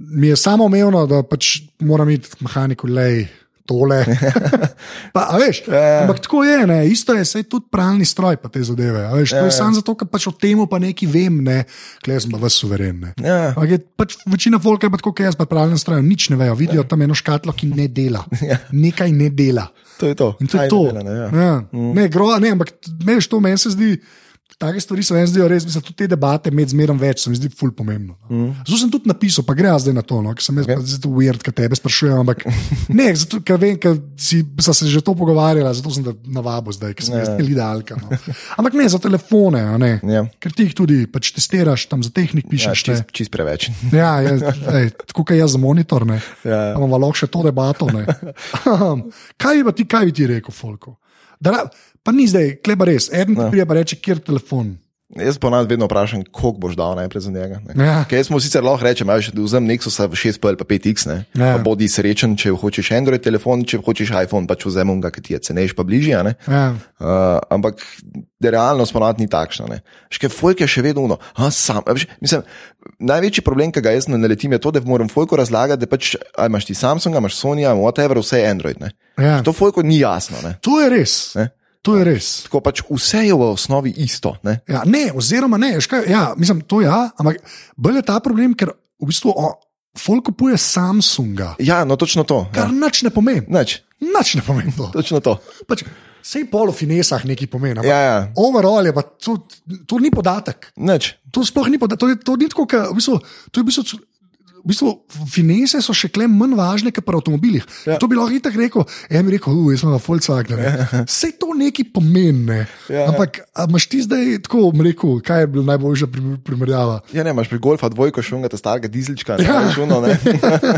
Speaker 1: mi je samo omejeno, da pač moram iti k mehaniku, le tole. pa, a veš,
Speaker 2: ja.
Speaker 1: ampak tako je, ne? isto je, sej tudi pralni stroj, pa te zadeve. a Veš, to je
Speaker 2: ja.
Speaker 1: samo zato, ker pač o tem pa nekaj vem, ne, klej sem pa vas suveren. Ne.
Speaker 2: ja.
Speaker 1: Ampak je Pač večina folka je pa tako, kot jaz, pa pravno stran, nič ne vejo.
Speaker 2: Ja.
Speaker 1: Vidijo tam eno škatlo, ki ne dela. Nekaj ne dela.
Speaker 2: To je to.
Speaker 1: In to je
Speaker 2: Ajde,
Speaker 1: to.
Speaker 2: Milane, ja.
Speaker 1: Ja. Ne, gro, ne, ampak t- ne, veš, to meni se zdi. Take stvari se meni zdijo res, mislim, tudi te debate med zmerom več, se mi zdi ful pomembno. Mm.
Speaker 2: Mhm.
Speaker 1: Zato sem tudi napisal, pa gre zdaj na to, no, ker sem jaz okay. zelo weird, ker tebe sprašujem, ampak ne, zato ker vem, ker si, sva se že to pogovarjala, zato sem te navabo zdaj, ker sem jaz
Speaker 2: Ja.
Speaker 1: idealka. No. Ampak ne za telefone, a ne.
Speaker 2: Ja.
Speaker 1: Ker ti jih tudi pač testiraš, tam za tehnik
Speaker 2: Ja,
Speaker 1: pišeš. ne.
Speaker 2: čist, čist preveč.
Speaker 1: Ja, je, ej, tako kot jaz za monitor, ne.
Speaker 2: Ja.
Speaker 1: Pa Imamo lahko še to debato. ne. kaj, bi pa ti, kaj bi ti rekel, Folko? Da, ra- pa ni zdaj, kleba res. En
Speaker 2: No.
Speaker 1: ti prije pa reče, kjer telefon.
Speaker 2: Jaz ponavadi vedno vprašam, koliko boš dal najprej za njega. ne.
Speaker 1: Ja.
Speaker 2: Ker jaz mu sicer lahko rečem, da vzem Nexus 6P ali pa 5X, ne.
Speaker 1: Ja.
Speaker 2: Pa bodi srečen, če hočeš Android telefon, če hočeš iPhone, pač vzemem ga, ki ti je cenejši, pa bližje. a ne.
Speaker 1: Ja,
Speaker 2: Uh, ampak realnost ponavadi ni takšna. ne. Še kaj folk je še vedno uno. A, sam, a, veš, mislim, največji problem, ki ga jaz ne naletim, je to, da moram folku razlagati, da pač ali imaš ti Samsung, imaš Sony, whatever, vse je Android. Ne.
Speaker 1: ja.
Speaker 2: To folku ni jasno. Ne.
Speaker 1: To je res.
Speaker 2: Ne?
Speaker 1: To je res.
Speaker 2: Tako pač vse je v osnovi isto. Ne.
Speaker 1: Ja, ne, oziroma ne, veš kaj, ja, mislim, to ja, ampak bolj je ta problem, ker v bistvu o, Folk kupuje Samsunga,
Speaker 2: Ja, no točno to.
Speaker 1: kar
Speaker 2: Ja.
Speaker 1: ja. nič ne pomeni.
Speaker 2: Nač,
Speaker 1: Nič ne pomeni to.
Speaker 2: točno to.
Speaker 1: Pač, Sej pol v finesah nekaj pomeni. ampak
Speaker 2: Ja, ja.
Speaker 1: Overall je pa to, to ni podatek.
Speaker 2: Nač.
Speaker 1: To sploh ni podatek, to, je- to ni tako, kot v bistvu, to je v bistvu. cel- v bistvu finese so še klem manj važne, kot pri avtomobilih. Ja.
Speaker 2: Ja.
Speaker 1: To bi lahko itak rekel, en bi rekel, "U, jaz sem na Volkswagenu. Vse to neki pomeni. Ja.
Speaker 2: Ja.
Speaker 1: Ampak a imaš ti zdaj tako, bom rekel, kaj je bila najboljša prim- primerjava?
Speaker 2: Ja, ne, imaš pri golfa dvojko šunga, ta starega dizelčka, ne,
Speaker 1: Ja.
Speaker 2: ja. šuno, ne.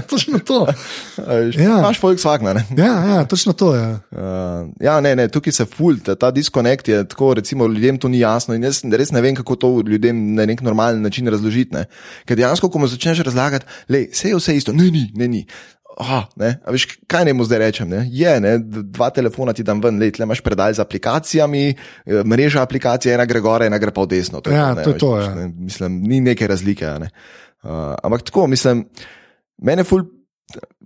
Speaker 1: Točno to. Ja.
Speaker 2: Ja. Imaš Volkswagen, ne.
Speaker 1: Ja, ja točno to je. Ja.
Speaker 2: Uh, ja, ne, ne, tukaj se fulta, ta diskonekt je tako, recimo, ljudem to ni jasno in jaz res ne vem, kako to ljudem na nek normalen način razložiti. Ne. Ker dejansko, ko mu začneš razlagati, le, vse je vse isto, ne, ni, ne, ni. Aha, ne, a veš, kaj ne mu zdaj rečem? Ne? Je, ne, d- dva telefona ti dam ven, le, tle imaš predal z aplikacijami, eh, mreža aplikacij, ena gre gor, ena gre pa v desno. je
Speaker 1: Ja,
Speaker 2: ne,
Speaker 1: to je
Speaker 2: veš,
Speaker 1: to, ja.
Speaker 2: ne, mislim, ni neke razlike. a Ne. Uh, ampak tako, mislim, mene ful.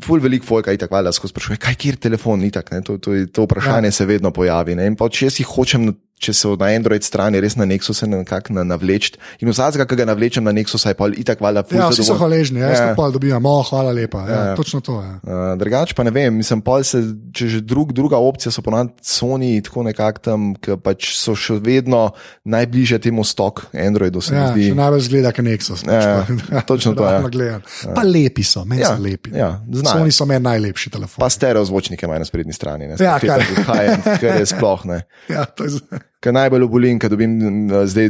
Speaker 2: Ful veliko folka je tako, da se sprašuje, kaj je kjer telefon, itak, ne, to, to, je- to vprašanje ja. se vedno pojavi. Ne, in pa, če jaz jih hočem, na- če se na Android strani res na Nexus nekako na, navleč, in vsakega, ki ga navlečem na Nexus, je pa itak, da
Speaker 1: Ja, vsi so hvaležni, jaz
Speaker 2: Ja.
Speaker 1: ja. pa dobivam, oh, hvala lepa. Ja, ja.
Speaker 2: Ja.
Speaker 1: Točno to je.
Speaker 2: Uh, drugač pa ne vem, mislim, pol se, če že drug, druga opcija so ponad Sony, tako nekako tam, ki pač so še vedno najbližje temu stok Androidu, se
Speaker 1: Ja,
Speaker 2: ja, mi
Speaker 1: še
Speaker 2: zdi.
Speaker 1: najbolj zgleda, kot Nexus.
Speaker 2: Ja, ja, točno to, ja.
Speaker 1: Ja. Pa lepi so, meni
Speaker 2: Ja,
Speaker 1: so lepi.
Speaker 2: ja, znajo.
Speaker 1: Sony so meni najlepši telefon.
Speaker 2: Pa stereo zvočnike imajo na sprednji strani, ne
Speaker 1: Ja, kar-
Speaker 2: high-end, kar je sploh ne.
Speaker 1: Ja, to je z-
Speaker 2: Ker najbolj obolim, ker dobim eh, zdaj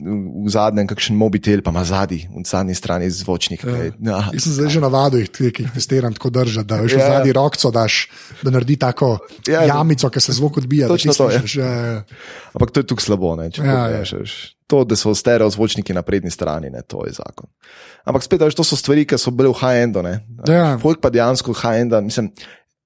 Speaker 2: v zadnjem kakšen mobitel, pa ima zadnji, v zadnji strani zvočnik. Ja. Ja.
Speaker 1: Jaz sem zdaj že navaden, ki jih testiram, tako držati, da že
Speaker 2: Ja.
Speaker 1: yeah. zadnji rokco daš, da naredi tako yeah.
Speaker 2: Ja.
Speaker 1: jamico, ki se zvok odbija. da
Speaker 2: Točno
Speaker 1: ti
Speaker 2: to, ja.
Speaker 1: slišiš, ja, ja.
Speaker 2: Ampak to je tu slabo, ne, če
Speaker 1: Ja,
Speaker 2: ja,
Speaker 1: ja.
Speaker 2: rečeš. veš. To, da so stereo zvočniki na prednji strani, ne, to je zakon. Ampak spet, a veš, to so stvari, ki so bile v high-endu. ne.
Speaker 1: Ja.
Speaker 2: Folk pa dejansko high-enda, mislim.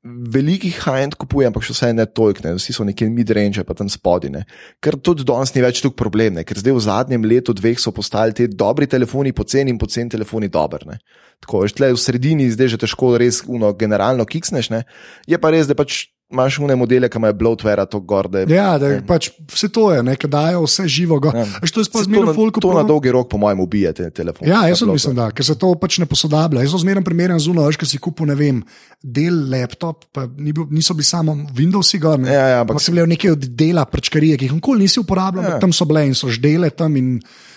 Speaker 2: Velikih high-end kupuje, ampak še vse ne toliko, ne. vsi so nekje mid-range, pa tam spodine. Ker tudi danes ni več tukaj problem, ne. ker zdaj v zadnjem letu, dveh so postali ti dobri telefoni, poceni in poceni telefoni dober. Ne. Tako je, tle v sredini zdaj že težko res uno, generalno kiksneš, ne. je pa res, da pač imaš une modele, ki imajo bloatware, to gor, da je
Speaker 1: ja, da je pač vse to je, nekaj dajo vse živo. Ja. To je
Speaker 2: Saj
Speaker 1: sploh zmerno
Speaker 2: to, na,
Speaker 1: folko.
Speaker 2: to na
Speaker 1: prav-
Speaker 2: dolgi rok, po mojem, ubija te telefone.
Speaker 1: Ja,
Speaker 2: Ta
Speaker 1: jaz tudi
Speaker 2: blok.
Speaker 1: mislim, da, ker se to pač ne posodablja. Jaz sem zmerno primeren zunaj, veš, ker si kupil, ne vem, del laptop, pa ni bil, niso bili samo Windowsi gor. ne.
Speaker 2: Ja, ja, ampak-
Speaker 1: ampak so bile neke od dela prčkarije, ki jih nikoli nisi uporabljal, ja.
Speaker 2: Ja.
Speaker 1: tam so bile in so ždele tam in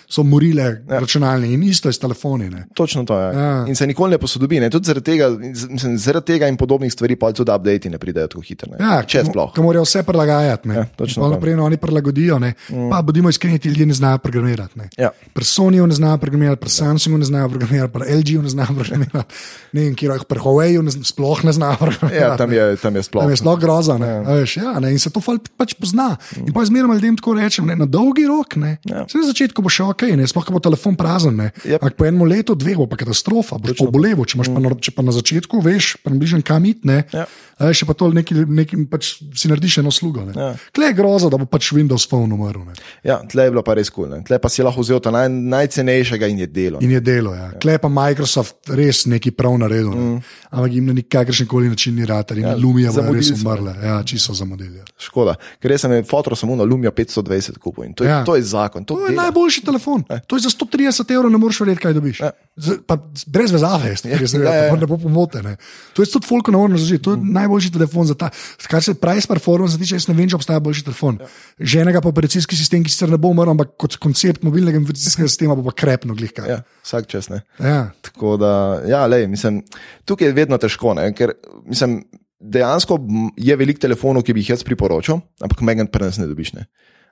Speaker 1: so morile ja. računalnike in isto je s telefoni. Ne.
Speaker 2: Točno to je.
Speaker 1: Ja.
Speaker 2: Ja. In se nikoli ne posodobi. Ne? Tudi zaradi tega, mislim, zaradi tega in podobnih stvari, pa tudi update ne pridejo tako hitro. ne.
Speaker 1: Ja,
Speaker 2: Če sploh.
Speaker 1: Ki morajo vse prilagajati. Ja,
Speaker 2: Ja, točno to.
Speaker 1: naprej, no, oni prilagodijo. Mm. Pa bodimo iskreni, ti ljudje ne znajo programirati. Ne.
Speaker 2: Ja.
Speaker 1: Pri Sonyju ne znajo programirati, pri Samsungu ne znajo programirati, pri LG-ju ne znajo programirati, ne vem, kje jih pri Huawei-ju ne, zn- sploh ne znajo programirati.
Speaker 2: Ja, tam, je, tam je sploh.
Speaker 1: Tam je sploh groza. Ne, ja. veš, ja, ne, in se to fal, pač pozna. In pa zmerno ljudem tako rečem, ne, na dolgi rok. Ne, ja.
Speaker 2: Ja.
Speaker 1: Na začetku bo še ok, ne, sploh ko bo telefon prazen. Ne,
Speaker 2: Jep. Mm.
Speaker 1: ampak po enem letu, dveh bo pa katastrofa, boš oboleval. Če, imaš pa, na- če pa na začetku veš, približen kam iti, ne,
Speaker 2: Ja.
Speaker 1: a veš, še pa to neki, neki pač si narediš eno slugo. Ja.
Speaker 2: Ja.
Speaker 1: Kle je groza, da bo pač Windows Phone umrl. Ne.
Speaker 2: Ja, tle je bilo pa res kul. Cool, ne. tle pa si lahko vzel ta naj, najcenejšega in je delo. Ne.
Speaker 1: In je delo. Ja. Kle je pa Microsoft res neki prav naredil.
Speaker 2: Mm.
Speaker 1: Ne. Ampak jim na nikakršen koli način ni rad, ali ja, Lumija bo
Speaker 2: zamudili
Speaker 1: res
Speaker 2: smo.
Speaker 1: umrla. Ja, čisto zamudili. Ja.
Speaker 2: Škoda, ker jaz sem fotor samo na Lumio 520 kupil in to je,
Speaker 1: Ja.
Speaker 2: ja. to je zakon. To
Speaker 1: To je
Speaker 2: dela. Ja.
Speaker 1: najboljši telefon. To je za 130 evrov, ne moreš verjeti, kaj dobiš. Z, pa, z- brez vezave, jaz, res, ja, ja,
Speaker 2: ja, ja. Mhm.
Speaker 1: ja. ne bo pomotene. To je tudi folko na orno zažiti. To je mm. najboljši telefon za ta. Kar se price performance tiče, jaz ne vem, če obstaja boljši telefon. Ja. Že enega pa operacijski sistem, ki sicer ne bo umrl, ampak kot koncept mobilnega operacijskega sistema bo pa krepno glihka.
Speaker 2: Mhm. Ja, vsak čas ne.
Speaker 1: Ja.
Speaker 2: Tako da, ja, lej, mislim, tukaj je vedno težko, ne? ker mislim, dejansko m, je veliko telefonov, ki bi jih jaz priporočal, ampak mega pri nas ne dobiš. Ne?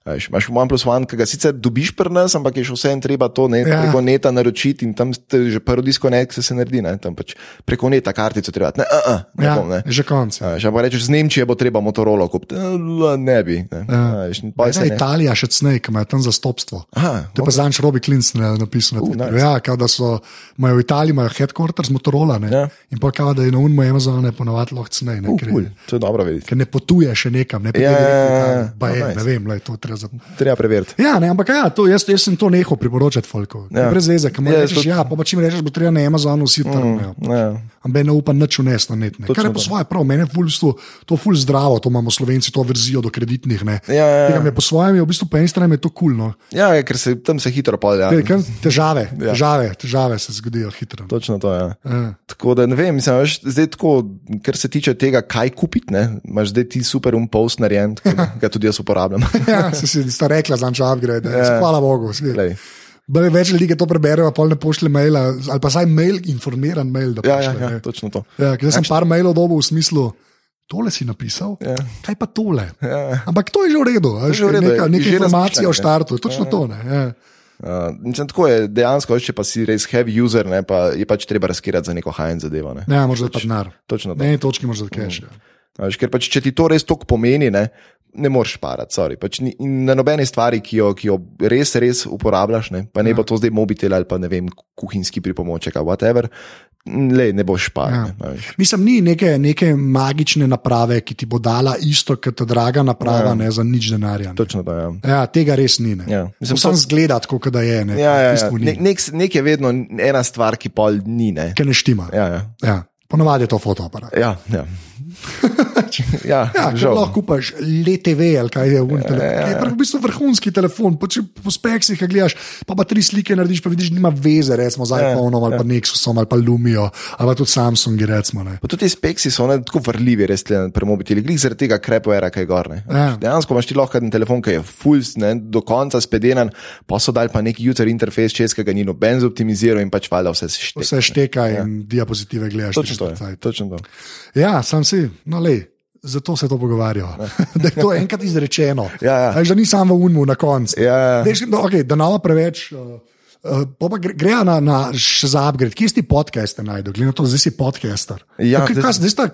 Speaker 2: A veš, Imaš OnePlus One, ki ga sicer dobiš pri nas, ampak je še vseeno treba to ne,
Speaker 1: Ja.
Speaker 2: ja. preko neta naročiti in tam te že prvi diskonekt se, se naredi, ne? tam pač preko neta kartico treba. Ne, a, a, ne
Speaker 1: Ja,
Speaker 2: bom, ne.
Speaker 1: že konc. Ja.
Speaker 2: A veš, ali pa rečeš, z Nemčije bo treba Motorola kupiti. Eh, Ne bi. Ne? A veš, in
Speaker 1: Ja,
Speaker 2: pol se ne.
Speaker 1: Italija, še cnej, ki ima tam zastopstvo.
Speaker 2: Aha,
Speaker 1: To je pa zadnjič Robi Klinc ne- napisal. Uh, nice.
Speaker 2: nice.
Speaker 1: Ja, kao da so, imajo v Italiji imajo headquarters Motorola ne?
Speaker 2: Ja.
Speaker 1: in pa kao da je na unmu Amazon ne ponovadi lahko cenej. Ne,
Speaker 2: o,
Speaker 1: ker,
Speaker 2: kul, to je dobro vedeti.
Speaker 1: ker ne potuje še nekam, ne potuje.
Speaker 2: Ja, ja, ja.
Speaker 1: Pa
Speaker 2: Oh,
Speaker 1: je,
Speaker 2: nice.
Speaker 1: ne vem, le, to je treba za.
Speaker 2: Treba preveriti.
Speaker 1: Ja, ne, ampak ja, to, jaz, jaz sem to nehal priporočati Folku. Ja.
Speaker 2: Ja.
Speaker 1: Brez veze, kam
Speaker 2: Ja,
Speaker 1: rečeš,
Speaker 2: tudi-
Speaker 1: ja, pa, pa če mi rečeš, bo treba na Amazonu vsi trgnejo. Mm.
Speaker 2: Ja.
Speaker 1: Ampak ne upam nič unesti na net. Ne. Kar je po svoje prav, meni je ful, v bistvu to ful zdravo, to imamo slovenci, to verzijo do kreditnih. Ne.
Speaker 2: Ja, ja, ja.
Speaker 1: Tega mi je po svojem, je v bistvu po eni strani mi je to kulno. Cool, no.
Speaker 2: Ja, ker se tam se hitro ja. polja.
Speaker 1: Ker Kam, težave, ja. težave, težave se zgodijo hitro.
Speaker 2: Točno to je. Ja.
Speaker 1: Ja.
Speaker 2: Tako da ne vem, mislim, veš, zdaj tako, kar se tiče tega, kaj kupiti, ne, imaš zdaj ti super umpost narejen, tako da ga tudi jaz uporabljam.
Speaker 1: Ja, se si sta rekla, da je upgrade. Ja. Hvala Bogu. saj.
Speaker 2: Glej.
Speaker 1: Bele več ljudi, ki to preberejo, pa ne pošlje maila, ali pa saj mail, informiran mail. da
Speaker 2: Ja, ja,
Speaker 1: pošlje,
Speaker 2: ja,
Speaker 1: ne.
Speaker 2: točno to.
Speaker 1: ja, ker jaz sem par mailov dobil v smislu, tole si napisal,
Speaker 2: Ja.
Speaker 1: kaj pa tole.
Speaker 2: Ja.
Speaker 1: Ampak to je že v redu, a
Speaker 2: je
Speaker 1: že
Speaker 2: že v redu,
Speaker 1: neka,
Speaker 2: je
Speaker 1: neka
Speaker 2: že
Speaker 1: informacija o
Speaker 2: razmišljanje.
Speaker 1: štartu, točno to. Ne, ja.
Speaker 2: Uh, mislim, tako je dejansko, če pa si res heavy user, ne, pa je pač treba riskirati za neko high-end zadevo. Ne.
Speaker 1: ne moreš dati denar.
Speaker 2: Točno Mm. to.
Speaker 1: Na eni točki moraš dati cache. Ja.
Speaker 2: Veš, ker pač, če ti to res toliko pomeni, ne, ne moreš parati. sorry. Pač ni, in na nobeni stvari, ki jo, ki jo res, res uporabljaš, ne, pa ne
Speaker 1: Ja.
Speaker 2: bo to zdaj mobitel ali pa ne vem, kuhinjski pripomoček ali whatever, le, ne boš
Speaker 1: Ja.
Speaker 2: paril. Ja.
Speaker 1: Mislim, ni neke, neke magične naprave, ki ti bo dala isto kot ta draga naprava,
Speaker 2: Ja.
Speaker 1: ne za nič denarja. ne.
Speaker 2: Točno to je. Ja.
Speaker 1: Ja, tega res ni. Ja.
Speaker 2: Ja. Mislim,
Speaker 1: Sam
Speaker 2: to,
Speaker 1: zgleda, tako kot da je. Ne,
Speaker 2: ja, ja,
Speaker 1: v
Speaker 2: ja.
Speaker 1: bistvu
Speaker 2: Nek,
Speaker 1: ni,
Speaker 2: nek, nek je vedno ena stvar, ki pol ni. Ne.
Speaker 1: ker ne štima. Ja.
Speaker 2: Ja, ja.
Speaker 1: Ja. Ponovadi je to fotoaparat.
Speaker 2: Ja, ja. ja,
Speaker 1: Ja, ker
Speaker 2: žal.
Speaker 1: lahko kupaš LTV ali kaj je un telefon. Ja, ja, ja. V bistvu vrhunski telefon, po, po speksih ga gledaš, pa pa tri slike narediš, pa vidiš, da nima veze recimo, z
Speaker 2: Ja,
Speaker 1: iPhonom ali ja. pa Nexusom ali pa Lumijo ali pa tudi Samsungi. Recimo, ne.
Speaker 2: Pa tudi ti speksi so ne, tako vrljivi, res te premobiteli, glih zaradi tega krepera, kaj gorne.
Speaker 1: Ja.
Speaker 2: Dejansko imaš ti lahko en telefon, ki je full, ne, do konca spedenen, pa so dal pa neki user interfejs čez, ki ga ni noben zoptimiziral in pač valjda vse šteka.
Speaker 1: Vse šteka ja. in diapozitive gledaš.
Speaker 2: Točno to je.
Speaker 1: 40 cajt.
Speaker 2: Točno to.
Speaker 1: Ja, sam si, no le. Zato se to pogovarjamo. Da je to enkrat izrečeno.
Speaker 2: Ja, ja.
Speaker 1: A veš, Da ni samo v unmu na koncu.
Speaker 2: Ja, ja.
Speaker 1: Veš, no, okay, da nama preveč. Uh, uh, pol pa gre- Grejo na, na še za upgrade, kje si ti podcaste najdel, glede na to, zdaj si podcaster.
Speaker 2: Ja,
Speaker 1: okay,
Speaker 2: zdaj-
Speaker 1: kaj, zdaj sta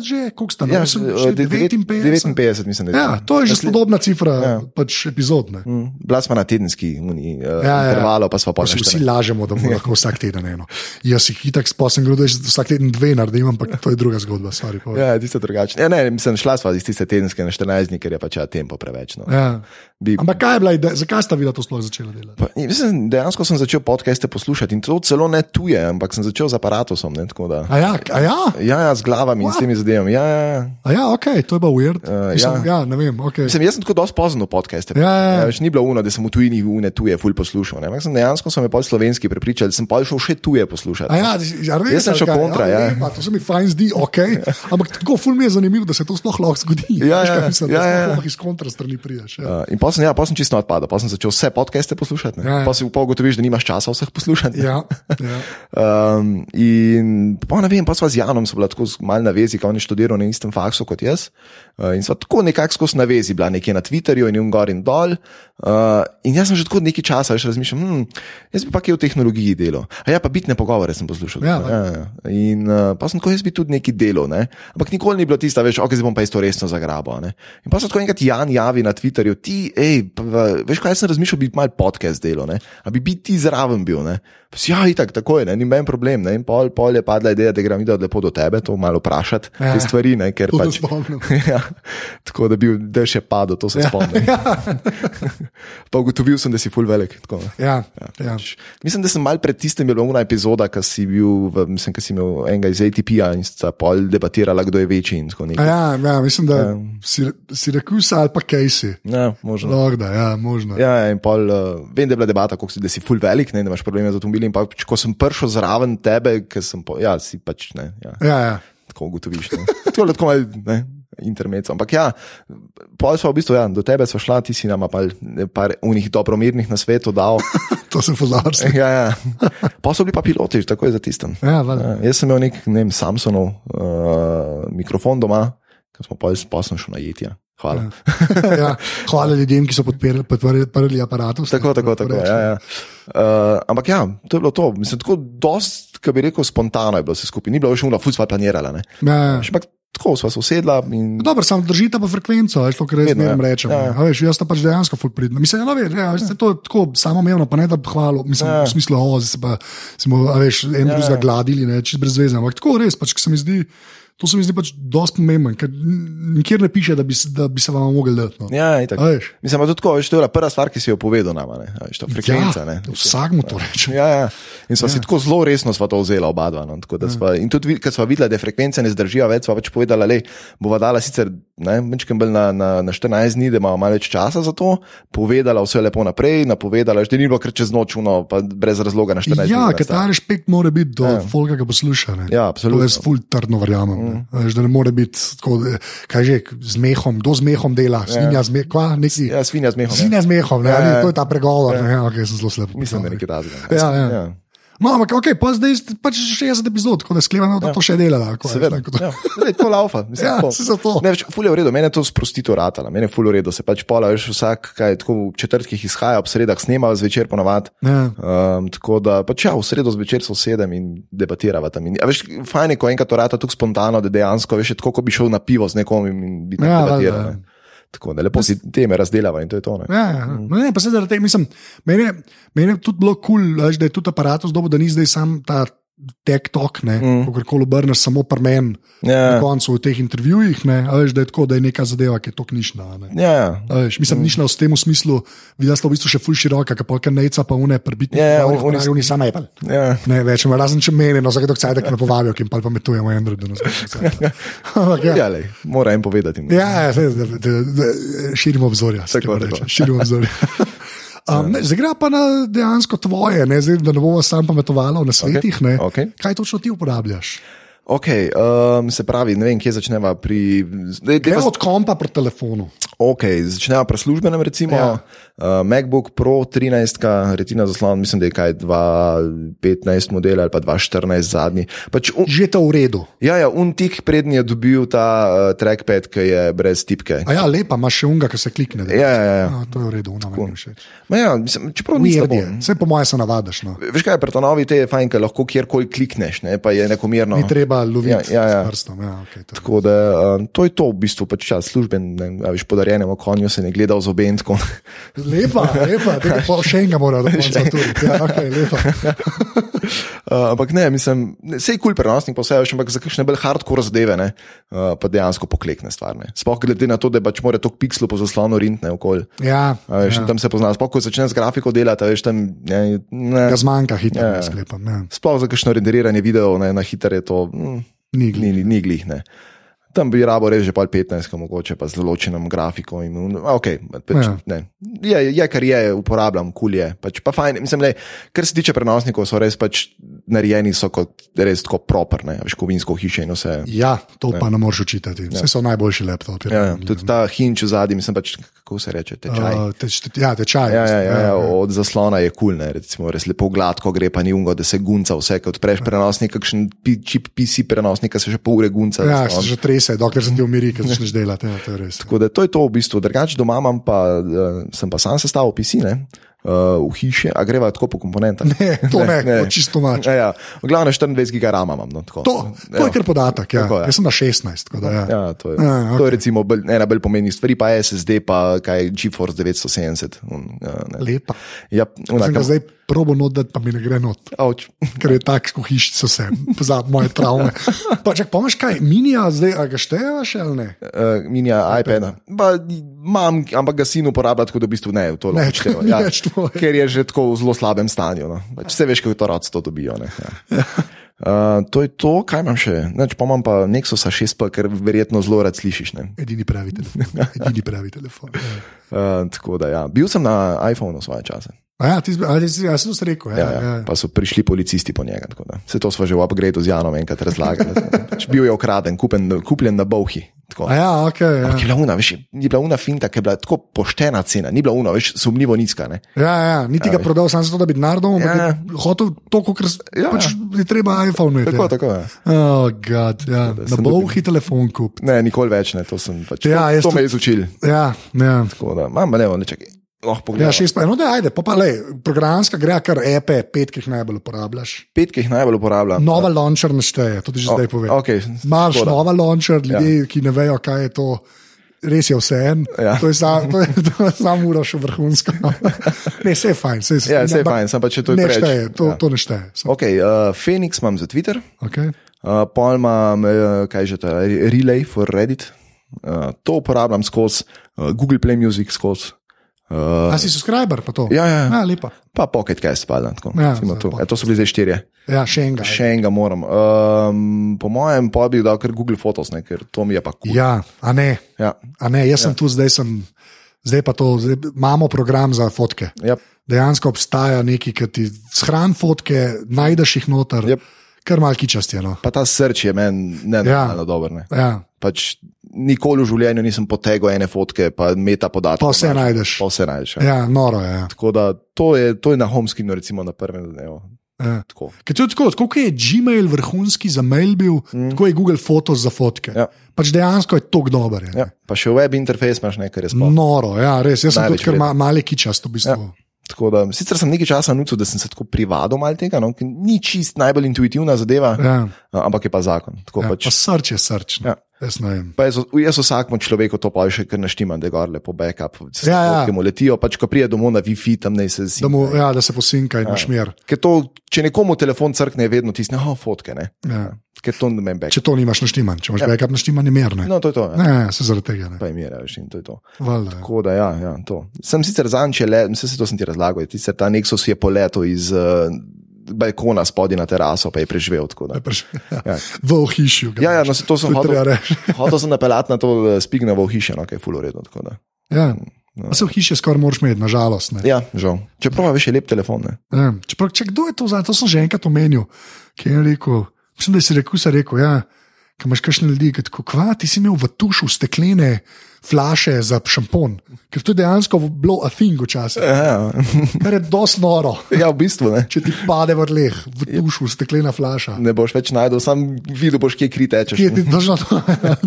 Speaker 1: 60 že, koliko sta?
Speaker 2: Ja,
Speaker 1: Ja, 59.
Speaker 2: 59, mislim, da je. Mhm.
Speaker 1: Ja, to je že podobna cifra, ja. pač epizodne.
Speaker 2: Bila smo na tedenski uniji,
Speaker 1: ja,
Speaker 2: ja,
Speaker 1: ja.
Speaker 2: intervalo, pa smo Mm. pa
Speaker 1: Se
Speaker 2: še
Speaker 1: vsi lažemo, da bomo lahko vsak teden eno. Jaz si hitek spasem, da že vsak teden dve naredim, ampak to je druga zgodba. Sorry, povej.
Speaker 2: Ja, tiste drugačne. Ja, ne, mislim, šla sva iz tiste tedenske na 14, ker je pač ja, tempo preveč. No.
Speaker 1: ja.
Speaker 2: Bi,
Speaker 1: Ampak kaj je bila, ide- zakaj sta bila to sploh začela delati?
Speaker 2: Pa, in mislim, dejansko sem začel podcaste poslušati in to celo ne tuje, ampak sem začel z aparatom. Ne, tako da-
Speaker 1: A ja, a ja,
Speaker 2: ja, ja, z glavami in s temi zadevami. Ja, ja, ja.
Speaker 1: a ja ok, to je pa weird.
Speaker 2: Eh,
Speaker 1: Mislim, ja. ja, ne vem. Okay.
Speaker 2: Mislim, jaz sem tako dosti pozno podcaste.
Speaker 1: Ja, ja, ja.
Speaker 2: več ni bilo uno, da sem v tujini une tuje ful poslušal. Ne. Ampak sem dejansko sem je pol slovenski prepričal, da sem pol šel še tuje
Speaker 1: A
Speaker 2: poslušati.
Speaker 1: Ja, ja, res,
Speaker 2: Jaz sem
Speaker 1: ali
Speaker 2: šel
Speaker 1: kaj?
Speaker 2: kontra, ja.
Speaker 1: lepa, To se mi fajn zdi, ok. Ampak tako ful mi je zanimivo, da se to sploh lahko zgodi.
Speaker 2: Ja,
Speaker 1: Veš, kaj
Speaker 2: ja,
Speaker 1: mislim,
Speaker 2: ja,
Speaker 1: da
Speaker 2: ja.
Speaker 1: sploh lahko iz kontra strani priješ. Ja.
Speaker 2: Uh, in pa sem, ja, pa sem čisto odpadal, pa sem začel vse podcaste
Speaker 1: Ja,
Speaker 2: poslušati.
Speaker 1: ja.
Speaker 2: Ja, ja. Pa si pa ugotoviš, da nimaš časa vseh poslušati. ne.
Speaker 1: Ja, ja.
Speaker 2: Um, in pa ne vem, pa sva z Janom sva bila tako z- malo na vezi, ker on je študiral na istem faksu kot jaz. Uh, in sva tako nekako skozi na vezi, bila nekje na Twitterju in je on gor in dol. Uh, in jaz sem že tako nekaj časa še razmišljal, hm, jaz bi pa kaj v tehnologiji delal. A ja, pa bitne pogovore sem poslušal.
Speaker 1: Ja,
Speaker 2: ja, ja. In uh, pa sem tako, jaz bi tudi nekaj delal, ne? ampak nikoli ni bilo tisto, veš, ok, zdaj bom pa isto resno zagrabo. Ne? In pa se tako enkrat Jan javi na Twitterju, ti, hej, veš kaj, jaz sem razmišljal, bi mal podcast delal, ne? a bi biti ti zraven bil. Ne? Pa si, Ja, itak, tako je, ne? ni meni problem. Ne? In pol, pol je padla ideja, da grem videl lepo do tebe, to malo vprašati,
Speaker 1: Ja.
Speaker 2: te stvari, ne? ker
Speaker 1: To se
Speaker 2: pač.
Speaker 1: spomnim.
Speaker 2: Ja, tako da bi dež je padel, to se ja. spomnim. pa ugotovil sem, da si full velik. Tako, no. ne.
Speaker 1: Ja, ja.
Speaker 2: Pač, Mislim, da sem mal pred tistim bila ena epizoda, ki si bil, v- mislim, ki si imel enega iz ATP-ja in sta pol debatirala, kdo je večji in
Speaker 1: A
Speaker 2: tako naprej.
Speaker 1: ja, ja, mislim, da si, si rekus ali pa Casey.
Speaker 2: Ja, možno.
Speaker 1: Logda, ja, možno.
Speaker 2: Ja, in pol, uh, vem, da je bila debata, kako si, da si full velik, ne, da imaš probleme z avtomobili. In pa, pač, ko sem prišel zraven tebe, ker sem, po, ja, si pač ne, ja,
Speaker 1: Ja, ja.
Speaker 2: tako ugotoviš. Ne. Tako da tako malo, ne, intermec. Ampak ja, pol smo v bistvu, ja, do tebe smo šla, ti si nama pa par unih dobromirnih na svetu dal.
Speaker 1: To se fularsi.
Speaker 2: ja, ja. Pa so bili pa piloti, že tako je za tistem.
Speaker 1: Ja, valjda.
Speaker 2: Ja, jaz sem imel nek ne vem, Samsonov uh, mikrofon doma, ki smo pa spasno šli na jetje. Hvala. Ja.
Speaker 1: ja. Hvala ljudem, ki so podpirali- podprli podprli aparatus.
Speaker 2: Tako, tako, tako. Ja, ja. Uh, ampak ja, to je bilo to. Mislim, tako dost, ki bi rekel, spontano je bilo vse skupaj. Ni bilo še umno, fuck sva planirala. Ne?
Speaker 1: Ja, ja.
Speaker 2: Še ampak tako sva se usedla in
Speaker 1: No Dobro, samo držite pa frekvenco, veš, to, kar jaz
Speaker 2: Vedno,
Speaker 1: zmeraj
Speaker 2: ja.
Speaker 1: rečem.
Speaker 2: Ja,
Speaker 1: Ja,
Speaker 2: ja.
Speaker 1: ja. Veš, jaz sem pač dejansko fulpridna. Mislim, da ja, veš, saj to je tako samoumevno, pa ne da bi hvalo, mislim, ja.
Speaker 2: Ja.
Speaker 1: v smislu, o, zdaj se pa smo, a veš, en
Speaker 2: Ja,
Speaker 1: drugega
Speaker 2: ja.
Speaker 1: gladili, ne, čez brez veze. Ampak tako res, pač, ker se mi zdi, to se mi zdi pač dosti pomemben, ker n- nikjer ne piše, da bi, s- da bi se vam mogli dati. No.
Speaker 2: Ja, itak.
Speaker 1: A veš?
Speaker 2: Mislim, da je tako, veš, to je bila prva stvar, ki si jo povedal nama, ne? A veš, ta frekvenca. ne.
Speaker 1: ja, vsakmu to rečem.
Speaker 2: Ja, ja. In sva ja. si tako zelo resno sva to vzela,
Speaker 1: Ja.
Speaker 2: oba dva. No, tako da sva, in tudi, vid- ko sva videla, da frekvence ne zdržijo več, sva pač povedala, da bova dala sicer Mečem bolj na, na, na 14 dni, da imamo malo več časa za to, povedala vse lepo naprej, napovedala, že ni bilo kar čez noč, no, pa brez razloga na 14 dni.
Speaker 1: Ja,
Speaker 2: nastaja.
Speaker 1: Katar respekt mora biti do
Speaker 2: Ja.
Speaker 1: ja. folga, ki ga posluša. ne.
Speaker 2: Ja,
Speaker 1: To
Speaker 2: absolutno. Mhm.
Speaker 1: jaz ful trdno verjamem. Mm. Veš, da ne more biti tako, da- kaj že z mehom, kdo z mehom dela, svinja z mehom, kva, neki.
Speaker 2: Ja, svinja z mehom. ne.
Speaker 1: Svinja z mehom, ne,
Speaker 2: Ja, ja.
Speaker 1: ja, to je ta pregovor. Ja, ja okay, sem zelo slab.
Speaker 2: Mislim, da je nekaj takega.
Speaker 1: Ja, ja. No, ampak ok, pa zdaj ste pač 60 epizod, tako da sklepamo, da ja. to še delala. Ko,
Speaker 2: Seveda,
Speaker 1: Veš, tako,
Speaker 2: ja. Zdaj, to laufa. Mislim,
Speaker 1: Ja,
Speaker 2: tako.
Speaker 1: saj zato.
Speaker 2: Ne, več, ful je v redu, meni je to sprostito ratala, meni je ful v redu, se pač pola, veš, vsak, kaj tako v četrtkih izhaja, ob sredah snema, zvečer ponavadi.
Speaker 1: ja.
Speaker 2: Um, tako da, pač ja, v sredo zvečer so sedem in debatirava tam. In, a veš, fajn je, ko enkrat to rata tako spontano, da dejansko veš, je tako kot bi šel na pivo z nekom in bi tam
Speaker 1: Ja,
Speaker 2: ja,
Speaker 1: valjda,
Speaker 2: debatiral.
Speaker 1: ja.
Speaker 2: ne. Tako da lepo si teme razdelava in to je to. Ne?
Speaker 1: Ja, ja. No, ne, pa se zaradi tega, mislim, meni, je- meni je tudi bilo kul, cool, da je tudi aparat zdobo, da ni zdaj sam ta TikTok, mm. kako koli obrneš, samo prmen na
Speaker 2: Mhm. Ja,
Speaker 1: koncu v teh intervjujih, ne, a veš, da je tako, da je neka zadeva, ki je to knišna. Ne.
Speaker 2: ja, ja.
Speaker 1: A Veš, mislim, mm. nišla v tem smislu, videla sta v bistvu še ful široka, kapalka nejca pa une prebitne.
Speaker 2: Ja, ja, oni-
Speaker 1: oni oni sama je pa.
Speaker 2: ja.
Speaker 1: Ne, več, ima razen če meni, no, zakaj dok cajt, ki ne povabijo, ki jim pa pametujemo Android. No, Ampak, ja.
Speaker 2: ja lej, mora jim povedati. ne.
Speaker 1: Ja, ja, saj, da- da- da- širimo obzorja. se
Speaker 2: Tako,
Speaker 1: temu
Speaker 2: tako.
Speaker 1: reče, Širimo obzorja. Um, ne, zdaj gre pa na dejansko tvoje, ne, zdaj, da ne bomo sam pametovali na svetih. Okay,
Speaker 2: okej.
Speaker 1: Kaj točno ti uporabljaš?
Speaker 2: Okay, um, se pravi, ne vem, kje začneva. Pri... Dej, dej,
Speaker 1: Gre
Speaker 2: dej,
Speaker 1: od kompa pri telefonu.
Speaker 2: okay, začneva pri službenem, recimo ja.
Speaker 1: Ja.
Speaker 2: uh, MacBook Pro 13, retina zaslon, mislim, da je kaj 2.15 model ali pa 2.14 zadnji. Pač, un,
Speaker 1: Že je to v redu.
Speaker 2: ja, ja, un tik prednji je dobil ta uh, trackpad, ki je brez tipke.
Speaker 1: A ja, lepa, imaš še unga, ki se klikne. da-
Speaker 2: Ja, ja, ja.
Speaker 1: A, to je v redu, unam je všeč.
Speaker 2: Ma ja mislim, čeprav ni
Speaker 1: Weird
Speaker 2: slabo.
Speaker 1: je, vse po mojem se navadiš. No.
Speaker 2: Veš kaj, pri Tanovi te je fajn, ker lahko kjerkoli klikneš, ne, pa je nekomerno.
Speaker 1: Ni treba loviti
Speaker 2: No. Ja, ja, ja.
Speaker 1: s prstom. Ja, okay, to je-
Speaker 2: Tako da um, to je to v bistvu pač čas služben, ne, a veš podarjenemu konju se ne gleda v zobe in tako.
Speaker 1: lepa, lepa, tega pa še enega mora, da bo zaturil. Ja, okay, lepa.
Speaker 2: Uh, ampak ne, mislim, vse je kul cool prenosnik, pa vse je še, ampak za kakšne bolj hardcore zadeve, ne, uh, pa dejansko poklekne stvar. ne. Sploh glede na to, da pač mora tok pikslov po zaslonu rintne okol.
Speaker 1: Ja,
Speaker 2: A Veš, ja. Tam se pozna, sploh ko začneš z grafiko delati, a veš tam. Ne, ne.
Speaker 1: ga zmanjka hitro,
Speaker 2: Ja,
Speaker 1: ja,
Speaker 2: ja.
Speaker 1: ja. sklepam. Ja.
Speaker 2: Sploh za kakšno renderiranje videov ne, na hitro je to mm,
Speaker 1: Ni glih.
Speaker 2: ni, ni, ni glih. Ne. Tam bi rabo reči že pa 15, ko mogoče pa z določenim grafikom. In, okay, pač,
Speaker 1: Ja.
Speaker 2: ja. je, je, kar je, uporabljam, kul cool je. Pač, pa fajn, mislim, le, kar se tiče prenosnikov, so res pač narejeni so kot res tako properne, veš, kovinsko hiše in vse.
Speaker 1: Ja, to pa ne moreš učitati. Vse so najboljši laptopi.
Speaker 2: Ja, ja. Tudi ta hinč zadnji, mislim pač, kako se reče, tečaj.
Speaker 1: Uh, teč, te, ja, tečaj.
Speaker 2: Ja, ja, ja, ja, od zaslona je kul, cool, recimo, res lepo gladko gre, pa ni ungo, da se gunca vse, kot odpreš
Speaker 1: Ja.
Speaker 2: prenosnik, kakšen pi- čip PC prenosnika se še pol ure gunca.
Speaker 1: ja,
Speaker 2: zaslon.
Speaker 1: se že trese, dokler se ti umiri, ker začneš delati. Ja, to je res.
Speaker 2: Tako da to je to v bistvu. Drugač doma imam pa, eh, sem pa sam sestavil pisine uh, v hiše, a greva tako po komponentah.
Speaker 1: Ne, to ne, to čisto mač.
Speaker 2: Ja, ja. Glavno 24 gigarama imam. No, tako.
Speaker 1: To, to je kar podatek. Ja.
Speaker 2: Tako, ja.
Speaker 1: Jaz sem na 16. tako Da, ja.
Speaker 2: Ja, to je,
Speaker 1: Ja,
Speaker 2: ja, okay. to je recimo bolj, ena bolj pomembnih stvari, pa SSD, pa kaj GeForce 970. Un, ja, ne.
Speaker 1: Lepa.
Speaker 2: ja,
Speaker 1: Sem
Speaker 2: unak,
Speaker 1: ga zdaj probo not, pa mi ne gre not.
Speaker 2: avč.
Speaker 1: Ker je tako, ko hiš so se, pozabi moje travme. Pa če pomeniš kaj, minija zdaj, a ga štejevaš ali ne?
Speaker 2: uh, minija iPada. Pa, imam, ampak ga sin uporablja tako, da v bistvu ne, v to lahko
Speaker 1: to
Speaker 2: čteva.
Speaker 1: ni
Speaker 2: Ja,
Speaker 1: več tvoje.
Speaker 2: ker je že tako v zelo slabem stanju. No. Pač se veš, kako to rad to dobijo. Ne, ja. Uh, to je to, kaj imam še. Neč, pa imam pa Nexus 6, pa, ker verjetno zelo rad slišiš. ne.
Speaker 1: Edini pravi telefon. Edini pravi telefon. Ja.
Speaker 2: Uh, tako da, ja. Bil sem na iPhonu svoje čase,
Speaker 1: A ja, ti si, a, ti si, a, sem to rekel. Ja,
Speaker 2: ja, ja. pa so prišli policisti po njega. tako da. Se to smo že v upgradu z Janom enkrat razlagali. pač bil je ukraden, kupen, kupljen na Bohi. Tako.
Speaker 1: A ja, ok. Ja.
Speaker 2: Ampak je bila una, veš, ni bila una finta, ki je bila tako poštena cena, ni bila una, veš, sumljivo nizka. Ne?
Speaker 1: Ja, ja, niti ga prodal samo zato, da bi denar dobil, ampak
Speaker 2: Ja.
Speaker 1: je hotel to, kar
Speaker 2: Ja.
Speaker 1: ja. pač je treba iPhone imeti.
Speaker 2: Tako,
Speaker 1: ja.
Speaker 2: tako je.
Speaker 1: Oh, God, ja. Na
Speaker 2: sem
Speaker 1: bolhi telefon kup.
Speaker 2: Ne, nikoli več ne, to sem pač.
Speaker 1: Ja,
Speaker 2: to,
Speaker 1: jaz
Speaker 2: to
Speaker 1: tudi-
Speaker 2: me je izučil.
Speaker 1: Ja, ja.
Speaker 2: Tako da, mam, ne, ne, čakaj.
Speaker 1: Ja,
Speaker 2: Oh, poglej. Ja,
Speaker 1: šest pa je, no, da ajde, pa pa le, programska gre, kar epe, pet, ki jih najbolj uporabljaš.
Speaker 2: Pet, ki jih najbolj uporabljam.
Speaker 1: Nova launcher našteje, to ti že No, zdaj povem.
Speaker 2: Okay,
Speaker 1: Imaš
Speaker 2: Ja. škoda.
Speaker 1: nova launcher, ljudje, ja. ki ne vejo, kaj je to. Res je vse en,
Speaker 2: Ja.
Speaker 1: ja. to je samo sam uraš v vrhunsko. ne, vse je fajn, vse je
Speaker 2: Ja, saj je fajn, samo pač je to
Speaker 1: ne
Speaker 2: preveč.
Speaker 1: šteje, to,
Speaker 2: Ja.
Speaker 1: ja. to ne šteje. So,
Speaker 2: Okay, uh, Phoenix imam za Twitter,
Speaker 1: okay.
Speaker 2: uh, pol imam, uh, kaj že ta, Re- eh, Relay for Reddit, uh, to uporabljam skozi, uh, Google Play Music skozi.
Speaker 1: Uh, A si subscriber, pa to.
Speaker 2: Ja, ja.
Speaker 1: ja lepa.
Speaker 2: Pa Pocket Cast, pa da.
Speaker 1: Ja,
Speaker 2: Ja,
Speaker 1: zdaj
Speaker 2: to.
Speaker 1: Pocket
Speaker 2: E, to so bili zdaj štirje.
Speaker 1: Ja, še enega.
Speaker 2: Še enega moram. Um, po mojem, pa bi dal kar Google Photos, ne, ker to mi je pa kul.
Speaker 1: Ja, a ne,
Speaker 2: Ja.
Speaker 1: a ne, jaz sem tu, zdaj sem, zdaj pa to, zdaj, imamo program za fotke.
Speaker 2: Ja.
Speaker 1: Dejansko obstaja nekaj, ki ti shran fotke, najdeš jih noter,
Speaker 2: Jep.
Speaker 1: kar mal kičast je. No.
Speaker 2: Pa ta srč je meni ne
Speaker 1: Ja.
Speaker 2: ja. dober. Ne.
Speaker 1: Ja,
Speaker 2: Pač nikoli v življenju nisem potegal ene fotke, pa meta podatke.
Speaker 1: Pa vse
Speaker 2: znaš.
Speaker 1: najdeš.
Speaker 2: Pa vse najdeš. Ja. Ja.
Speaker 1: ja, noro je. Ja.
Speaker 2: Tako da to je, to je na homeskinu, recimo na prvem dnevu.
Speaker 1: Ja.
Speaker 2: Tako.
Speaker 1: Ker to je tako, tako kot je Gmail vrhunski za mail bil, mm. tako je Google Photos za fotke.
Speaker 2: Ja.
Speaker 1: Pač dejansko je to dober. Je.
Speaker 2: Ja. Pa še web interfejs imaš nekaj res. No.
Speaker 1: Noro, ja, res. Jaz sem
Speaker 2: Največ
Speaker 1: tudi kar ma, male kičast v bistvu.
Speaker 2: Da, sicer sem nekaj časa nucil, da sem se tako privadil malo tega, no, ker ni čist najbolj intuitivna zadeva, ja.
Speaker 1: Ja.
Speaker 2: ampak je pa zakon. Tako
Speaker 1: Ja,
Speaker 2: ja,
Speaker 1: pač.
Speaker 2: pač.
Speaker 1: Pa srce je srčno.
Speaker 2: Ja.
Speaker 1: Ja. Jaz ne vem.
Speaker 2: Pa jaz, jaz vsakmu človeku to pa še kar naštima, da gor lepo backup, vse
Speaker 1: Ja, ja.
Speaker 2: ja, ja. mu letijo, pač ko pride domov na Wi-Fi, tam naj se
Speaker 1: Da,
Speaker 2: zdi.
Speaker 1: mu, ja, da se posinka in ja. imaš mir.
Speaker 2: Ker to, če nekomu telefon crkne, je vedno tisti, oh, fotke, ne.
Speaker 1: Ja.
Speaker 2: Ker to ne meni back.
Speaker 1: Če to nimaš naštiman, če imaš ja. backup naštiman, je mir. Ne,
Speaker 2: No, to je to. Ja.
Speaker 1: ne, ne se zaradi tega ne.
Speaker 2: Pa je mir, veš, in to je to.
Speaker 1: Valjda, ja.
Speaker 2: Tako da, ja, ja, to. Sem sicer zanče le, vse se to sem ti razlagal, je sicer ta Nexus je poletel iz uh, balkona spodaj na teraso, pa je preživel. tako da.
Speaker 1: Je prišel-
Speaker 2: Ja.
Speaker 1: V ohišju. ga
Speaker 2: Ja, ja,
Speaker 1: imaš.
Speaker 2: no, se to sem
Speaker 1: To je treba
Speaker 2: hotel.
Speaker 1: reči.
Speaker 2: Hotel sem napeljati na to eh, spignavo hišo, no, ki je fuloredno.
Speaker 1: Ja. Pa se v hiši skoraj moraš imeti, nažalost. ne.
Speaker 2: no, Ja, žal. Čeprav je še lep telefon. Ne.
Speaker 1: Ja. Čeprav, če kdo je to znal, to sem že enkrat omenil, ki je rekel, mislim, da si rekel, se rekel, ja, ki imaš kakšne ljudi, ki tako kva, ti si imel v tušu steklene flaše za šampon, ker to je dejansko bilo a thing včasih,
Speaker 2: Ja, ja.
Speaker 1: kar je dosti noro.
Speaker 2: ja, v bistvu ne.
Speaker 1: Če ti pade v leh, v tušu steklena flaša.
Speaker 2: Ne boš več najdel, sam videl boš, kje kri tečeš.
Speaker 1: Kje ti držno to?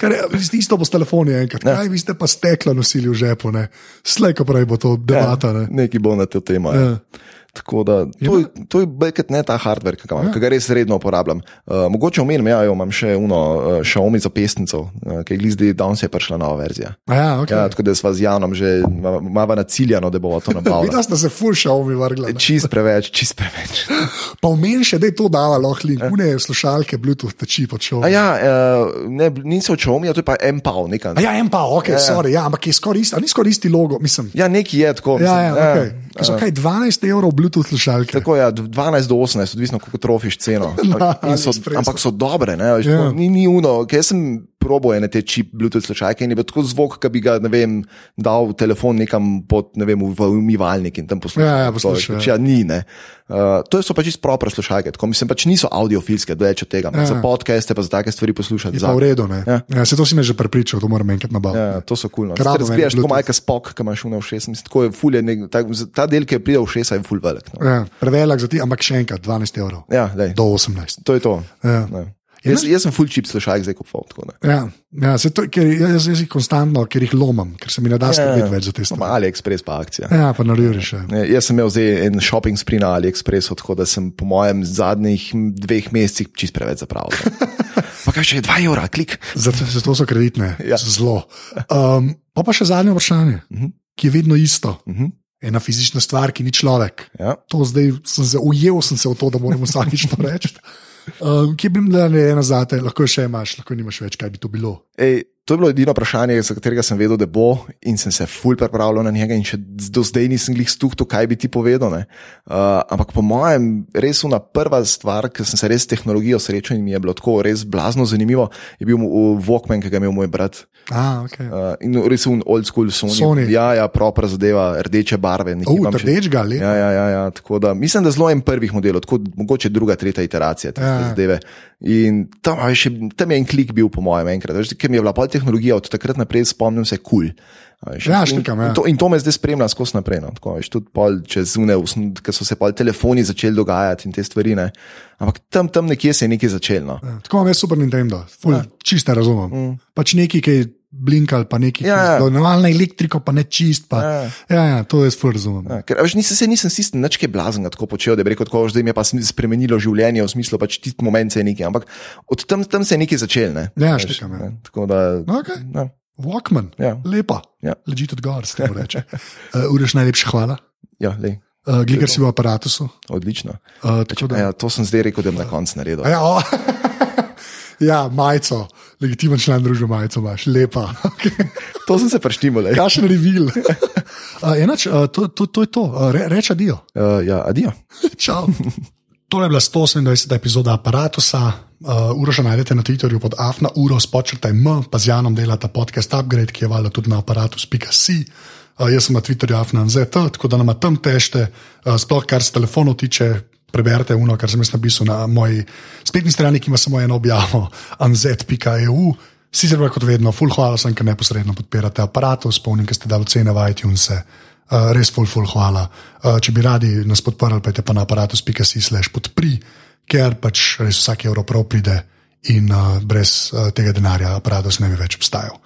Speaker 1: Kar je z isto bo s telefoni enkrat.
Speaker 2: Ja.
Speaker 1: Kaj vi ste pa steklo nosili v žepu, ne? Slej, ko pravi bo to debata, ne?
Speaker 2: Nekaj bo na to temo. Ja.
Speaker 1: Ja. no.
Speaker 2: Tako da, to, je, to je beket ne ta hardware, ki ga,
Speaker 1: Ja.
Speaker 2: imam, ki ga res redno uporabljam. Uh, mogoče omenim, ja, jo, imam še uno, uh, Xiaomi za pesnico, uh, ki je glih zdaj, danes je prišla nova verzija.
Speaker 1: A Ja, ok.
Speaker 2: Ja, tako da sva z Janom že malo naciljano, da bomo to nabavili.
Speaker 1: Videla ste se furša omi vrgla. ne?
Speaker 2: Čist preveč, čist preveč.
Speaker 1: Pa vmeni še, da je to dala lahko link, une slušalke, Bluetooth teči pod šov.
Speaker 2: Ja. A ja, uh, ne, niso Xiaomi, a to je pa MPAV nekaj.
Speaker 1: Ja, en pa, ok, ja. sorry, ja, ampak je skoraj isti, a ni skoraj isti logo, mislim.
Speaker 2: Ja, neki je tako.
Speaker 1: Ja,
Speaker 2: mislim,
Speaker 1: ja, ok. Ki so kaj 12 evrov Bluetooth slušalke.
Speaker 2: Tako je, ja, 12 do 18, odvisno kako trofiš ceno. In So,
Speaker 1: AliExpressu.
Speaker 2: ampak so dobre, ne, veš,
Speaker 1: Ja.
Speaker 2: yeah. ni, ni uno. Ker jaz sem probo ene te čip Bluetooth slušalke in je bil tako zvok, da bi ga ne vem, dal v telefon nekam pod, ne vem, v umivalnik in tam poslušal.
Speaker 1: Ja, ja,
Speaker 2: To,
Speaker 1: poslušal,
Speaker 2: pač,
Speaker 1: ja.
Speaker 2: Ja, ni, ne. Uh, to so pač čisto propre slušalke, tako mislim, pač niso audiofilske, doječe tega. Yeah.
Speaker 1: Ja.
Speaker 2: Za podcaste pa za take stvari poslušati.
Speaker 1: Pa
Speaker 2: za-
Speaker 1: v redu, ne.
Speaker 2: Ja.
Speaker 1: Ja, se to si me že prepričal, to moram enkrat nabaviti.
Speaker 2: Ja, to so kulno.
Speaker 1: Ker rabim en
Speaker 2: Razbiješ tako
Speaker 1: Bluetooth.
Speaker 2: majhen spok, ki imaš v ušesu. Tako je fulje, ta, ta del, ki je pridel v ušesa, je ful velik. No.
Speaker 1: Ja, prevelik za ti, ampak še enkrat 12 evrov.
Speaker 2: Ja, daj,
Speaker 1: Do 18.
Speaker 2: to je to.
Speaker 1: Ja.
Speaker 2: Ne. Jaz, jaz sem full chip slušalnik zdaj kupoval. tako, ne.
Speaker 1: Ja, ja se to, ker jaz, jaz jih konstantno, ker jih lomam, ker se mi ne da skrbeti več za te
Speaker 2: No,
Speaker 1: stvari.
Speaker 2: ma AliExpress pa akcija.
Speaker 1: Ja, pa narediš še.
Speaker 2: Ne, Jaz sem imel zdaj en shopping spree na AliExpressu, tako da sem po mojem zadnjih dveh mesecih čist preveč zapravil. ne. Pa kaj še je 2 evra, klik.
Speaker 1: Zato, zato so kreditne, ja.
Speaker 2: Ja.
Speaker 1: zelo. Um, pa pa še zadnje vprašanje, uh -huh. ki je vedno isto. Uh
Speaker 2: Mhm.
Speaker 1: -huh. Ena fizična stvar, ki ni človek.
Speaker 2: Ja.
Speaker 1: To zdaj sem se ujel, sem se v to, da moram vsakič to reči. Um, ki bi bila ne ena zate, lahko jo še imaš, lahko nimaš več, kaj bi to bilo.
Speaker 2: Ej, to je bilo edino vprašanje, za katerega sem vedel, da bo, in sem se ful pripravljal na njega, in še do zdaj nisem jih stuhto, kaj bi ti povedal. ne. Uh, ampak po mojem, res una prva stvar, ki sem se res s tehnologijo srečal in mi je bilo tako res blazno zanimivo, je bil uh, Walkman, ki ga je imel moj brat.
Speaker 1: Ah, okay.
Speaker 2: Uh, in res un old school Sony.
Speaker 1: Sony.
Speaker 2: Ja, ja, propra zadeva, rdeče barve. nekaj
Speaker 1: Uh,
Speaker 2: imam še-
Speaker 1: trdeč ga, lepo.
Speaker 2: Ja, ja, ja, ja, tako da mislim, da zelo en prvih modelov, tako mogoče druga, tretja iteracija te
Speaker 1: Ja.
Speaker 2: ja. zadeve. In tam, a veš, tam je en klik bil, po mojem, enkrat, veš, ker mi je bila pol tehnologija od takrat naprej, spomnim se, kul. Cool.
Speaker 1: Ja, šlikam, ja.
Speaker 2: in, to, in to me zdaj spremlja skozi naprej. No, tako, veš, tudi pol čez zune, ker so se pol telefoni začeli dogajati in te stvari. Ne. Ampak tam, tam nekje se je nekaj začelo. No.
Speaker 1: Ja. Tako imam jaz Super Nintendo, ful, ja. čist ne razumem. Mm. Pač neki, ki je blinkal, pa neki,
Speaker 2: Ja, ja.
Speaker 1: ja, ja. normalno elektriko, pa ne čist. Pa. Ja.
Speaker 2: Ja.
Speaker 1: Ja, ja, to jaz ful razumem. Ja.
Speaker 2: Ja, ker, a veš, nisem se nisem sist, nič kaj blaznega tako počel, da bi rekel, tako, zdaj mi je pa sm- spremenilo življenje, v smislu pač tisti moment se je nekaj, ampak od tam, tam se je nekaj začel. Ne?
Speaker 1: Ja,
Speaker 2: Veš,
Speaker 1: štekam, ja.
Speaker 2: ne, Tako da.
Speaker 1: Okay.
Speaker 2: Ja.
Speaker 1: Walkman,
Speaker 2: Ja.
Speaker 1: lepa,
Speaker 2: Ja.
Speaker 1: ležite od gor, se mu reče. Uh, Ureš najlepša hvala,
Speaker 2: Ja, lej,
Speaker 1: uh, gligar si v aparatu.
Speaker 2: odlično.
Speaker 1: Uh, tako da. Ja.
Speaker 2: Ja, to sem zdaj rekel, da bom na koncu naredil.
Speaker 1: A Ja, o, ja, majico, legitimen član družbe majico imaš, lepa. Okay.
Speaker 2: To sem se preštimal. Uh,
Speaker 1: Kakšen revil. Uh, enač, uh, to, to, to je to, uh, re, reče dio.
Speaker 2: ja, adijo.
Speaker 1: Čau. Tole je bila 128. epizoda aparata. Uh, Uroša najdete na Twitterju pod afna, uro spočrtaj m, pa z Janom delata podcast Upgrade, ki je valjda tudi na aparatu.si. Uh, jaz sem na Twitterju afna.nz, tako da nama tam tešte, uh, sploh kar se telefonov tiče. Preberite uno, kar sem jaz napisal na moji spletni strani, ki ima samo eno objavo, anzet.eu. E Sicer pa kot vedno, full hvala sem, ker neposredno podpirate aparatus, spomnim, ker ste dali cene v iTunes. Uh, res ful, ful, hvala. Uh, če bi radi nas podprli, pa je pa na aparatus.com/slash podpri, ker pač res vsak evro prav pride in uh, brez uh, tega denarja aparatus ne bi več obstajal.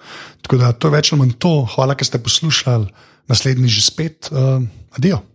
Speaker 1: Tako da to je več ali manj to. Hvala, ker ste poslušali, naslednji že spet. Uh, adijo.